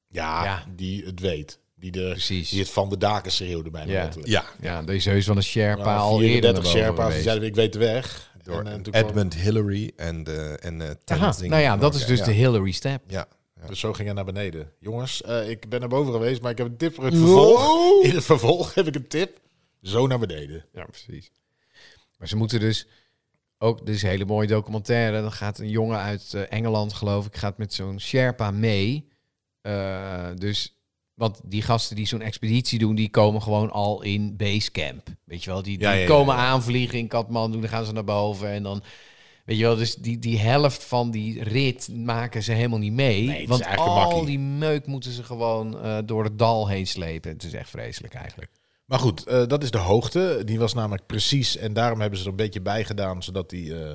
S1: Ja,
S3: Ja.
S1: die het weet. Die, de,
S3: Precies.
S1: die het van de daken schreeuwde bijna
S3: Ja.
S1: letterlijk.
S2: Ja,
S3: Ja, deze heus van een Sherpa
S1: Ja,
S2: Nou,
S3: al eerder.
S1: 34
S3: naar boven
S1: Sherpa's die
S3: geweest.
S1: zeiden ik weet de weg.
S2: door
S1: En, eh, toen kwam-
S2: Edmund Hillary en, de, en eh,
S3: Aha,
S2: Tenzing
S3: nou ja, dat is
S2: Norgay.
S3: dus
S2: Ja.
S3: de Hillary Step.
S2: Ja.
S1: Dus zo ging hij naar beneden. Jongens, eh, ik ben naar boven geweest, maar ik heb een tip voor het vervolg. In het vervolg heb ik een tip. Zo naar beneden.
S3: Ja, precies. Maar ze moeten dus ook, dit is een hele mooie documentaire. Dan gaat een jongen uit eh, Engeland, geloof ik, gaat met zo'n Sherpa mee. Eh, dus, want die gasten die zo'n expeditie doen, die komen gewoon al in basecamp. Weet je wel, die, die
S1: Ja, ja, ja,
S3: komen
S1: ja.
S3: aanvliegen in Kathmandu, dan gaan ze naar boven en dan... Weet je wel, dus die, die helft van die rit maken ze helemaal niet mee.
S1: Nee, het is
S3: want
S1: eigenlijk een
S3: al
S1: makkie.
S3: die meuk moeten ze gewoon eh, door het dal heen slepen. Het is echt vreselijk eigenlijk.
S1: Maar goed, eh, dat is de hoogte. Die was namelijk precies. En daarom hebben ze er een beetje bij gedaan, zodat, die, eh,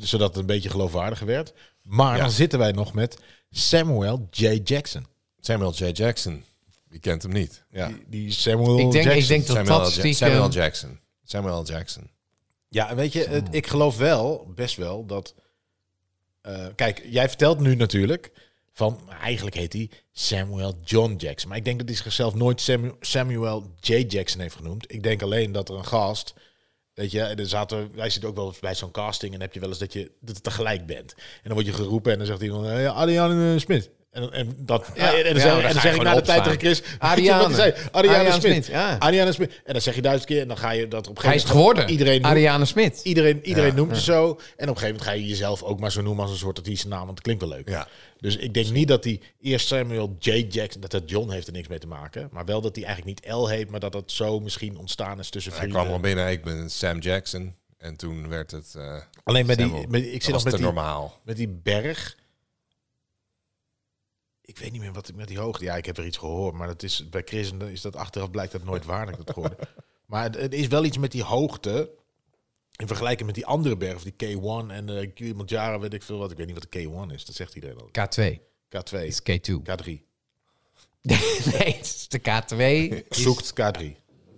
S1: zodat het een beetje geloofwaardiger werd. Maar
S2: Ja.
S1: dan zitten wij nog met Samuel J. Jackson.
S2: Samuel J. Jackson. Wie kent hem niet? Ja.
S1: Die, die Samuel
S3: Ik denk, ik
S1: Jackson.
S3: denk dat
S2: Samuel,
S3: dat
S2: L. Ja-
S3: stiekem...
S2: Samuel L. Jackson. Samuel L. Jackson.
S1: Ja, en weet je, het- ik geloof wel, best wel, dat... eh, kijk, jij vertelt nu natuurlijk van... Eigenlijk heet hij Samuel John Jackson. Maar ik denk dat hij zichzelf nooit Samu- Samuel J. Jackson heeft genoemd. Ik denk alleen dat er een gast... Weet je, er zaten, wij zitten ook wel eens bij zo'n casting en heb je wel eens dat je dat het tegelijk bent. En dan word je geroepen en dan zegt iemand, eh, Adriaan eh, Smit. En, en, dat,
S3: Ja,
S1: en dan
S3: ja,
S1: zeg,
S3: dan
S1: en
S3: ga
S1: dan
S3: je
S1: zeg ik
S3: gewoon
S1: na de tijd
S3: opstaan.
S1: tegen Chris,
S3: Ariane.
S1: Adriaan
S3: Ariane
S1: Smit.
S3: Smit, ja.
S1: Ariane Smit. En dan zeg je duizend keer en dan ga je dat op een
S3: Hij is
S1: gegeven
S3: het geworden.
S1: Iedereen noemt-
S3: Ariane Smit.
S1: Iedereen, iedereen
S2: Ja,
S1: noemt je zo. En op een gegeven moment ga je jezelf ook maar zo noemen als een soort artiestennaam. Want het klinkt wel leuk.
S2: Ja.
S1: Dus ik denk niet dat die eerst Samuel J. Jackson, dat dat John heeft er niks mee te maken. Maar wel dat hij eigenlijk niet L heet, maar dat dat zo misschien ontstaan is tussen
S2: Hij
S1: vrienden.
S2: kwam al binnen, ik ben Sam Jackson. En toen werd het... eh,
S1: Alleen met die,
S2: Samuel.
S1: met- ik
S2: dat
S1: zit nog
S2: was te
S1: met die,
S2: normaal.
S1: met die berg. Ik weet niet meer wat ik met die hoogte. Ja, ik heb er iets gehoord, maar dat is, bij Chris en dan is dat achteraf blijkt dat nooit waar dat ik dat hoorde. Maar het, het is wel iets met die hoogte. In vergelijking met die andere berg, of die K1 en de Kilimanjaro, weet ik veel wat. Ik weet niet wat de K1 is, dat zegt iedereen al.
S3: K2.
S1: K2,
S3: is K2.
S1: K3.
S3: nee, het is de K2. is-
S1: Zoekt K3.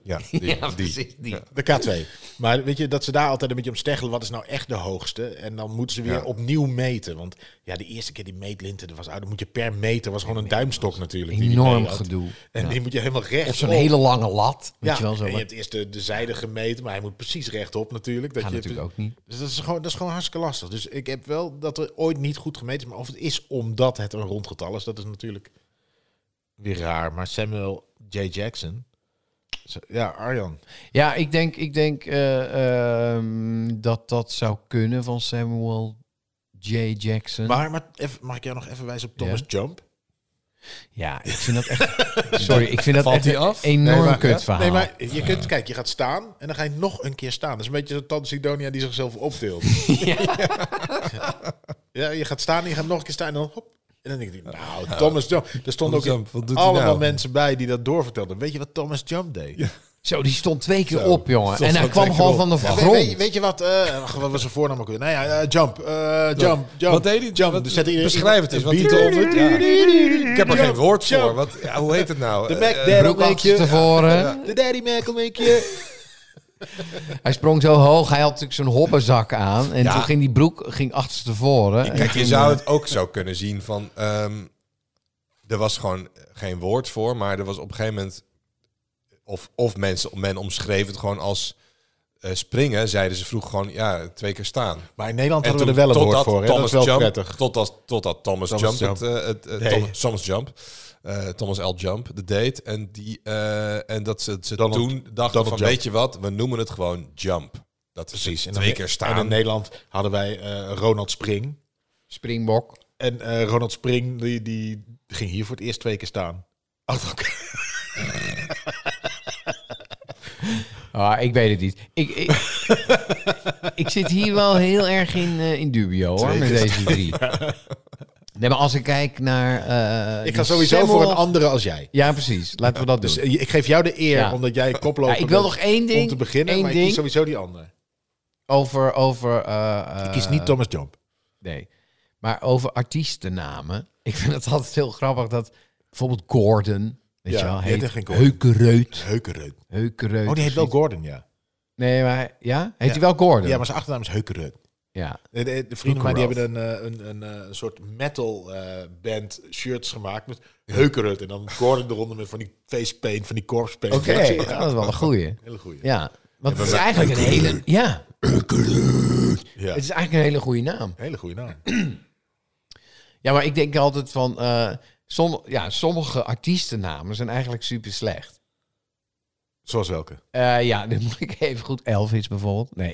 S2: Ja, die,
S3: Ja,
S2: die.
S3: precies. Die.
S1: De K2. Maar weet je, dat ze daar altijd een beetje om steggelen. Wat is nou echt de hoogste? En dan moeten ze weer
S2: Ja.
S1: opnieuw meten. Want ja, de eerste keer die meetlinten er was uit. Dan moet je per meter, was gewoon een duimstok natuurlijk. die die
S3: Enorm
S1: mee had.
S3: gedoe.
S1: En die moet je helemaal recht
S3: Of zo'n hele lange lat. Weet
S1: Ja,
S3: je wel, zo.
S1: en je
S3: wat-
S1: hebt eerst de, de zijde gemeten, maar hij moet precies rechtop natuurlijk. Dat
S3: Gaat
S1: je
S3: natuurlijk ook niet.
S1: Dus dat is, gewoon, dat is gewoon hartstikke lastig. Dus ik heb wel dat er ooit niet goed gemeten is. Maar of het is omdat het een rond getal is, dat is natuurlijk weer raar, maar Samuel J. Jackson. Zo- Ja, Arjan.
S3: Ja, ik denk, ik denk eh, ehm, dat dat zou kunnen van Samuel J. Jackson.
S1: Maar, maar even, mag ik jou nog even wijzen op Thomas
S3: Ja.
S1: Jump?
S3: ja, ik vind dat echt. sorry, ik vind dat
S2: Valt
S3: echt
S2: die
S3: een
S2: af?
S3: enorm
S1: Nee, maar-
S3: kut verhaal.
S1: Nee, maar je kunt, kijk, je gaat staan en dan ga je nog een keer staan. Dat is een beetje zo'n Tante Sidonia die zichzelf optilt. ja, je gaat staan en je gaat nog een keer staan en dan hop. En dan denk ik, nou, Thomas Jump. Er stonden ook
S2: Thomas Jump, wat doet hij
S1: allemaal
S2: nou?
S1: mensen bij die dat doorvertelden. Weet je wat Thomas Jump deed?
S3: Zo, die stond twee keer
S2: Zo,
S3: op, jongen.
S2: stond
S3: En hij
S2: gewoon
S3: kwam
S2: twee
S3: gewoon
S2: keer
S3: van de
S1: Ja,
S3: grond.
S1: Weet, weet, weet je wat? eh, ach, wat was zijn voornaam ook weer? Nou ja, eh, jump, eh, jump, jump.
S2: Wat deed hij?
S1: Jump.
S2: Wat-
S1: Dus zet iedereen-
S2: beschrijf het eens, wat hij
S1: Beat-
S2: deed. Ja. Ik heb er geen
S1: Jump,
S2: woord
S1: jump.
S2: voor. Wat, ja, hoe heet het nou?
S1: De
S2: Eh,
S1: Mac
S2: eh,
S1: Daddy
S3: Broekhandjes
S1: Mac-je.
S3: tevoren.
S1: De Daddy Mac make je.
S3: Hij sprong zo hoog. Hij had natuurlijk zo'n hobbenzak aan. En
S2: Ja.
S3: toen ging die broek ging achterstevoren.
S1: Eh,
S2: Kijk, je zou het ook zo kunnen zien van... ehm, er was gewoon geen woord voor, maar er was op een gegeven moment... Of, of mensen, men omschreef het gewoon als eh, springen. Zeiden ze vroeg gewoon, ja, twee keer staan.
S1: Maar in Nederland
S2: En
S1: hadden we er
S2: toen-
S1: wel een woord
S2: totdat
S1: voor. Hè? Dat
S2: Thomas
S1: is wel
S2: Jump,
S1: prettig.
S2: Totdat, totdat Thomas,
S1: Thomas
S2: Jump,
S1: Jump.
S2: Het, eh, het, eh,
S1: Nee.
S2: Thomas, Thomas Jump, eh, Thomas L. Jump, de date. En, die, eh, en dat ze, ze
S1: Donald-
S2: toen dachten
S1: Donald
S2: van,
S1: Jump.
S2: weet je wat, we noemen het gewoon Jump. Dat is
S1: Precies. En dan-
S2: twee keer
S1: En in
S2: staan.
S1: Nederland hadden wij eh, Ronald Spring.
S3: Springbok.
S1: En eh, Ronald Spring die, die ging hier voor het eerst twee keer staan. Achter elkaar.
S3: Ah, ik weet het niet. Ik, ik, ik zit hier wel heel erg in, eh, in dubio hoor, met deze drie. Nee, maar als ik kijk naar... eh,
S1: Ik ga
S3: die
S1: sowieso
S3: Samuel-
S1: voor een andere als jij.
S3: Ja, precies. Laten we dat doen.
S1: Dus eh, ik geef jou de eer,
S3: Ja.
S1: omdat jij koploper
S3: Ja, ik wil
S1: bent
S3: nog één ding.
S1: om te beginnen.
S3: één
S1: maar ik
S3: ding
S1: kies sowieso die andere.
S3: over... over eh, eh,
S1: Ik kies niet Thomas Jump.
S3: Nee. Maar over artiestennamen. Ik vind het altijd heel grappig dat bijvoorbeeld Gordon, weet
S1: Ja,
S3: je wel,
S1: die heet
S3: heet
S1: echt geen Gordon.
S3: Heukereut.
S1: Heukerud.
S3: Heukereut.
S1: Oh, die heet wel Gordon, ja.
S3: Nee, maar ja? Heet
S1: Ja.
S3: hij wel Gordon?
S1: Ja, maar zijn achternaam is Heukerud.
S3: Ja.
S1: De, de, de vrienden van mij die hebben een, eh, een, een, eh, soort metal eh, band shirts gemaakt met Heukerud. En dan Gordon eronder met van die face paint, van die corpse paint.
S3: Oké, ja, dat is wel een goeie.
S1: Hele goeie.
S3: Ja. Want het is eigenlijk een hele... Ja,
S1: Ja.
S3: het is eigenlijk een hele goede naam.
S1: Hele goede naam.
S3: Ja, maar ik denk altijd van... eh, som, ja, sommige artiestennamen zijn eigenlijk super slecht.
S1: Zoals welke?
S3: Eh, ja, dan moet ik even goed. Elvis bijvoorbeeld. Nee,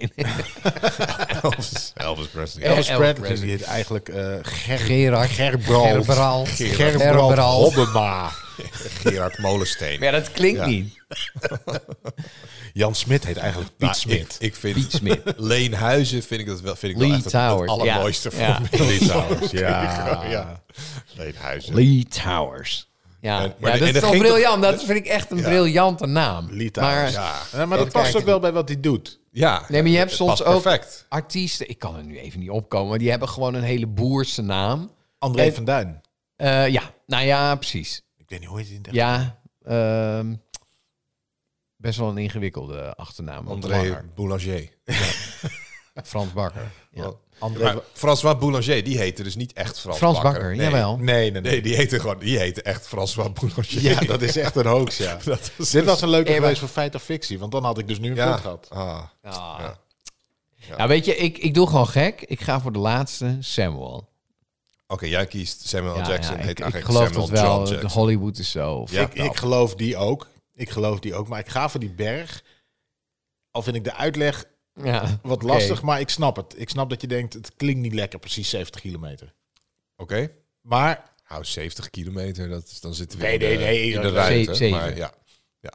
S2: Elvis, Elvis Presley.
S3: Elvis
S1: Eh, Elvis
S3: Presley.
S1: Presley. Die heet eigenlijk eh Ger
S3: Gerard.
S1: Gerbrand.
S3: Gerbrand.
S1: Gerbrand
S3: Gerbrand.
S1: Hobbema.
S2: Gerard Molensteen.
S3: Maar ja, dat klinkt
S2: Ja.
S3: niet.
S1: Jan Smit heet eigenlijk Piet
S2: Nou,
S1: Smit.
S2: Ik, ik
S3: Piet
S2: vind
S3: Smit.
S2: Leenhuizen vind ik dat wel, vind ik
S3: Lee
S2: wel echt het, het
S3: Towers, ja.
S2: allermooiste
S3: Ja.
S2: van Lee Towers.
S1: Ja.
S2: ja. Leenhuizen.
S3: Lee Towers. Ja,
S2: En-
S3: ja,
S2: maar de-
S3: dat
S2: en
S3: is
S2: dat
S3: toch
S2: ging toch-
S3: briljant. Dat vind ik echt een briljante naam.
S1: Lee
S3: Maar,
S1: Towers.
S2: ja.
S1: Ja, Eh, maar dat
S3: Ja,
S1: past
S3: kijk.
S1: ook wel bij wat hij doet.
S2: Ja.
S3: Nee, maar je hebt
S2: het
S3: soms
S2: past
S3: ook
S2: perfect.
S3: artiesten... Ik kan er nu even niet opkomen. Maar die hebben gewoon een hele boerse naam.
S1: André
S3: En-
S1: van Duin.
S3: Eh, ja, nou ja, precies.
S1: Ik weet niet hoe heet hij in het echt?
S3: Ja, ehm, best wel een ingewikkelde achternaam. want
S2: André
S3: langer.
S2: Boulanger.
S3: Frans Bakker. Ja.
S2: Wat?
S1: André
S2: Maar
S1: van-
S2: François Boulanger, die heette dus niet echt Frans,
S3: Frans
S2: Bakker.
S3: Bakker,
S2: Nee.
S3: jawel.
S1: Nee, nee, nee.
S2: Nee, die heette gewoon, die heette echt François Boulanger.
S1: Ja, dat is echt een hoax, ja.
S2: Dat is-
S1: Dit was een leuke
S3: Ewa.
S1: geweest voor feit of fictie, want dan had ik dus nu een
S2: ja.
S1: punt gehad.
S2: Ah.
S3: Ah.
S2: Ja.
S3: Nou, weet je, ik, ik doe gewoon gek. Ik ga voor de laatste, Samuel.
S2: Oké, jij kiest Samuel
S3: Ja,
S2: Jackson.
S3: ja,
S2: heet
S3: ik, ik
S2: eigenlijk
S3: geloof
S2: Samuel
S3: dat wel.
S2: John
S3: De
S2: Jackson.
S3: Hollywood is zo.
S2: Ja.
S3: fucked
S1: Ik, ik
S3: up.
S1: geloof die ook. Ik geloof die ook. Maar ik ga voor die berg. Al vind ik de uitleg
S3: ja.
S1: wat
S3: oké.
S1: lastig, maar ik snap het. Ik snap dat je denkt, het klinkt niet lekker, precies 70 kilometer.
S2: Oké.
S1: Maar
S2: Hou 70 kilometer, dat is, dan zitten we
S1: Nee,
S2: in de,
S1: nee, nee,
S2: in de
S1: dat-
S2: ruimte.
S3: Zeven.
S2: Maar ja. ja.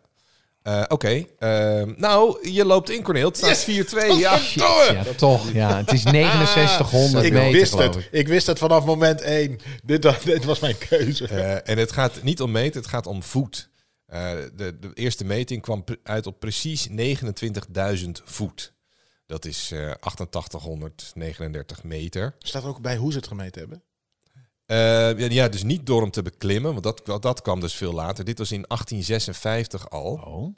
S2: Eh, Oké, ehm, nou, je loopt in, Corneel. Het staat 4-2. Ja, door!
S3: Ja, toch. Ja, het is 6900
S1: ik
S3: meter,
S1: wist
S3: geloof
S1: het.
S3: ik.
S1: Ik. wist het vanaf moment één. Dit, wa- dit was mijn keuze.
S2: Eh, en het gaat niet om meter, het gaat om voet. Eh, de, de eerste meting kwam pre- uit op precies 29.000 voet. Dat is eh 8839 meter.
S1: Staat ook bij hoe ze het gemeten hebben.
S2: Eh, ja, ja, dus niet door hem te beklimmen, want dat, dat kwam dus veel later. Dit was in 1856 al.
S3: Oh.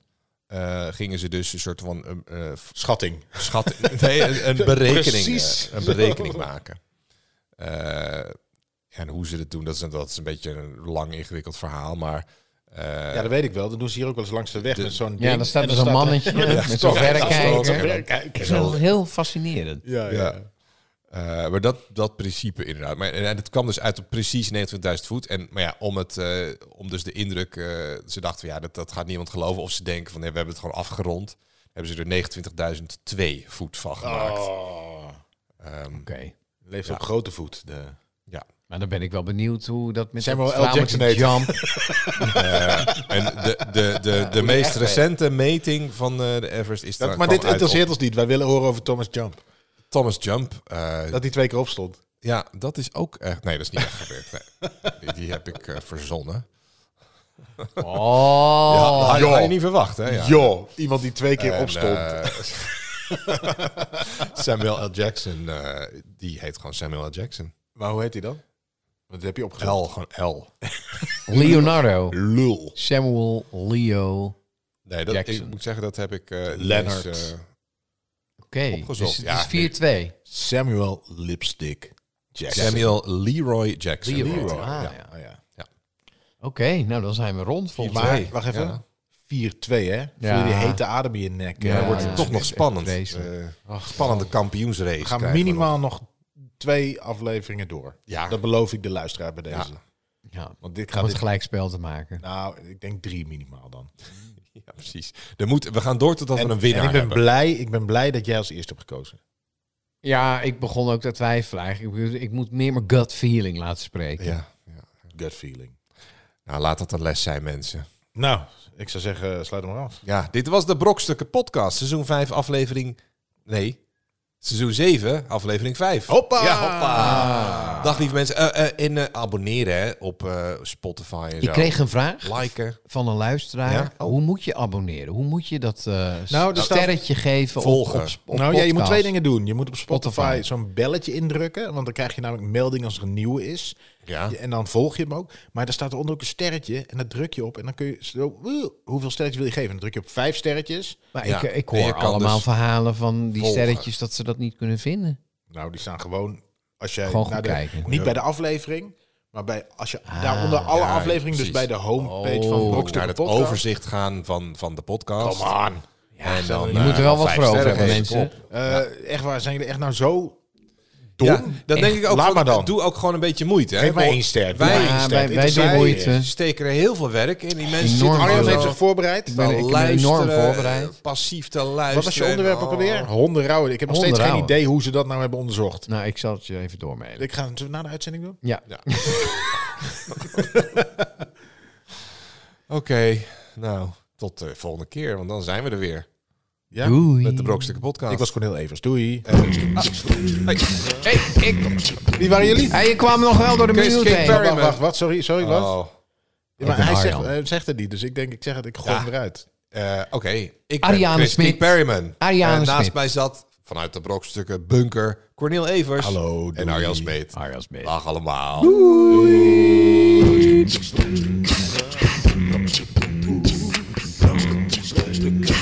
S2: Eh, gingen ze dus een soort van eh, eh,
S1: Schatting.
S2: schat, nee, een, een berekening,
S1: Precies.
S2: eh, een berekening maken. Eh, en hoe ze dat doen, dat is, een- dat is een beetje een lang ingewikkeld verhaal, maar eh,
S1: Ja, dat weet ik wel. Dat doen ze hier ook wel eens langs de weg met zo'n
S3: Ja,
S1: ding.
S3: dan staat
S1: En
S3: er zo'n
S1: er-
S3: mannetje
S1: Ja,
S3: met zo'n
S1: toch.
S3: verrekijker.
S1: Verrekijker.
S3: Ik vind dat heel fascinerend.
S1: Ja, ja.
S2: Ja. Eh, maar dat, dat principe inderdaad. Maar, en en het kwam dus uit op precies 29.000 voet. En maar ja, om, het, eh, om dus de indruk... eh, ze dachten van ja, dat, dat gaat niemand geloven. Of ze denken van nee, we hebben het gewoon afgerond. Hebben ze er 29.002 voet van gemaakt.
S1: Oh.
S2: Ehm,
S3: Oké.
S1: Leeft
S2: Ja.
S1: op grote voet. De...
S3: Maar dan ben ik wel benieuwd hoe dat met
S1: Samuel L.
S3: dat verhaal met
S1: Jackson
S3: die
S1: heet.
S3: jump.
S2: eh, en de, de, de, de meest recente meting van eh, de Everest is...
S1: Dat,
S2: dan-
S1: maar dit
S2: kwam uit op
S1: interesseert ons niet. Wij willen horen over Thomas Jump.
S2: Thomas Jump. eh,
S1: Dat hij twee keer opstond.
S2: Ja, dat is ook echt. Nee, dat is niet echt gebeurd. Nee. Die, die heb ik eh, verzonnen.
S3: Oh.
S2: ja, dat had,
S1: joh.
S2: had je niet verwacht, hè? Ja.
S1: Jo, iemand die twee keer
S2: En,
S1: opstond.
S2: eh, Samuel L. Jackson, eh, die heet gewoon Samuel L. Jackson.
S1: maar hoe heet hij dan? Want dat heb je opgezocht.
S2: L, gewoon L.
S3: Leonardo.
S2: Lul.
S3: Samuel Leo. Oké.
S2: Nee, dat, ik
S3: Jackson.
S2: moet zeggen, dat heb ik... eh,
S1: Leonard.
S2: eens, eh,
S3: Dus
S2: Opgezocht,
S3: het
S2: ja.
S3: is 4-2.
S1: Samuel Lipstick Jackson.
S2: Samuel Leroy Jackson.
S3: Leroy.
S2: heet hij.
S3: Ah,
S2: ja.
S3: ja.
S1: Oh, ja.
S3: Oké, nou dan zijn we rond volgens mij.
S1: Maar, wacht even.
S2: Ja.
S1: 4-2, hè? Voel je die hete adem in je nek.
S3: Ja,
S1: eh,
S2: Dan wordt het
S1: ja.
S2: toch nog spannend.
S3: vreselijk.
S2: Eh, spannende kampioensrace.
S1: We gaan
S2: krijgen we nog.
S1: minimaal nog twee afleveringen door.
S2: Ja.
S1: Dat beloof ik de luisteraar bij deze.
S2: Ja.
S3: Ja.
S1: Want dit
S3: Om
S1: gaat...
S3: het
S1: Dit,
S3: gelijkspel te maken.
S1: nou, ik denk drie minimaal dan.
S2: Ja, precies. Er moet, we gaan door totdat we een winnaar
S1: ik ben
S2: hebben.
S1: blij, ik ben blij dat jij als eerste hebt gekozen.
S3: Ja, ik begon ook te twijfelen eigenlijk. Ik, bedoel, ik moet meer mijn gut feeling laten spreken.
S2: Ja, ja.
S1: Gut feeling.
S2: Nou, laat dat een les zijn, mensen.
S1: Nou, ik zou zeggen, sluit hem maar af.
S2: Ja, dit was de Brokstukken Podcast, seizoen 5, aflevering. Nee, seizoen 7, aflevering 5.
S1: Hoppa! Ah.
S2: Ja, hoppa! Dag lieve mensen. Eh, eh, en eh, abonneren hè, op eh, Spotify en
S3: Ik
S2: zo.
S3: kreeg een vraag
S2: Liken,
S3: van een luisteraar.
S2: Ja? Oh.
S3: Hoe moet je abonneren? Hoe moet je dat eh, s-
S1: Nou, er staat-
S3: sterretje geven?
S2: Volgen.
S3: Op, op, op
S1: nou ja, je moet
S3: podcast?
S1: twee dingen doen. Je moet op Spotify,
S3: Spotify.
S1: zo'n belletje indrukken, want dan krijg je namelijk melding als er een nieuwe is.
S2: Ja.
S1: En dan volg je hem ook. Maar daar staat eronder ook een sterretje en dat druk je op en dan kun je zo, "Woe, hoeveel sterretjes wil je geven? Dan druk je op vijf sterretjes.
S3: Maar
S2: Ja,
S3: ik, ik
S2: en je
S3: hoor
S2: kan
S3: allemaal
S2: dus
S3: verhalen van die
S2: volgen.
S3: sterretjes dat ze dat niet kunnen vinden.
S1: Nou, die staan gewoon als jij
S3: Gewoon goed
S1: naar de-
S3: kijken.
S1: niet bij de aflevering, maar bij als je daaronder alle
S2: ja,
S1: afleveringen, dus
S2: precies.
S1: bij de homepage van
S3: Oh.
S1: Brokstukken
S2: naar het
S1: Podcast.
S2: overzicht gaan van, van de podcast.
S1: Come on.
S2: en dan,
S3: je
S2: eh,
S3: moet er wel wat
S2: vijf
S3: voor over
S2: sterren
S3: hebben,
S2: geven.
S3: mensen.
S2: Kom op.
S1: Eh, Echt waar, zijn jullie echt nou zo dom?
S2: Ja, dat denk ik ook.
S1: Laat
S2: van,
S1: maar dan.
S2: Doe ook gewoon een beetje moeite. Hè?
S1: Geef mij
S2: Voor-
S1: één ster. Doe
S2: Wij- eh,
S1: maar één
S3: Ja,
S1: ster.
S3: wij-
S1: Het
S3: wij
S1: interesseert je.
S3: doen moeite.
S2: Ze steken er heel veel werk in. Die mensen
S3: Enorm
S2: zitten
S3: veel
S1: Arjan heeft
S2: zo-
S1: zich voorbereid.
S3: ben- ik
S2: te
S3: ben
S2: luisteren,
S3: enorm voorbereid.
S2: Passief te luisteren.
S1: Wat was je onderwerp ook
S2: Oh.
S1: alweer? Honden rouwen. Ik heb nog steeds
S3: Honden
S1: geen
S3: rouwen.
S1: idee hoe ze dat nou hebben onderzocht.
S3: Nou, ik zal het je even doormelen.
S1: Ik ga het na de uitzending doen.
S3: Ja.
S2: Ja. Oké, nou, tot de volgende keer, want dan zijn we er weer
S1: Ja?
S3: Doei.
S2: met de Brokstukken Podcast.
S1: Ik was Cornel Evers. Doei.
S3: Hey, ik,
S1: Wie waren jullie?
S3: hey, je kwam nog wel door de
S2: Chris
S3: minuut
S2: King
S3: heen.
S2: Perry.
S1: Wacht, wacht, wat? Sorry, sorry, wat?
S2: Oh,
S1: Ja, maar
S3: Ik ben
S1: hij zegt,
S3: Arjan.
S1: hij zegt het niet, dus ik denk, ik zeg het, ik gooi
S2: Ja.
S1: hem eruit.
S2: eh, Oké, ik ben
S3: Ariane
S2: Chris
S3: Smit.
S2: King Perryman.
S3: Ariane
S2: en naast
S3: Smit.
S2: mij zat, vanuit de Brokstukken Bunker, Cornel Evers
S1: Hallo, doei.
S2: en Arjan Smeet.
S3: Arjas Beet.
S2: Dag allemaal.
S4: Brokstukken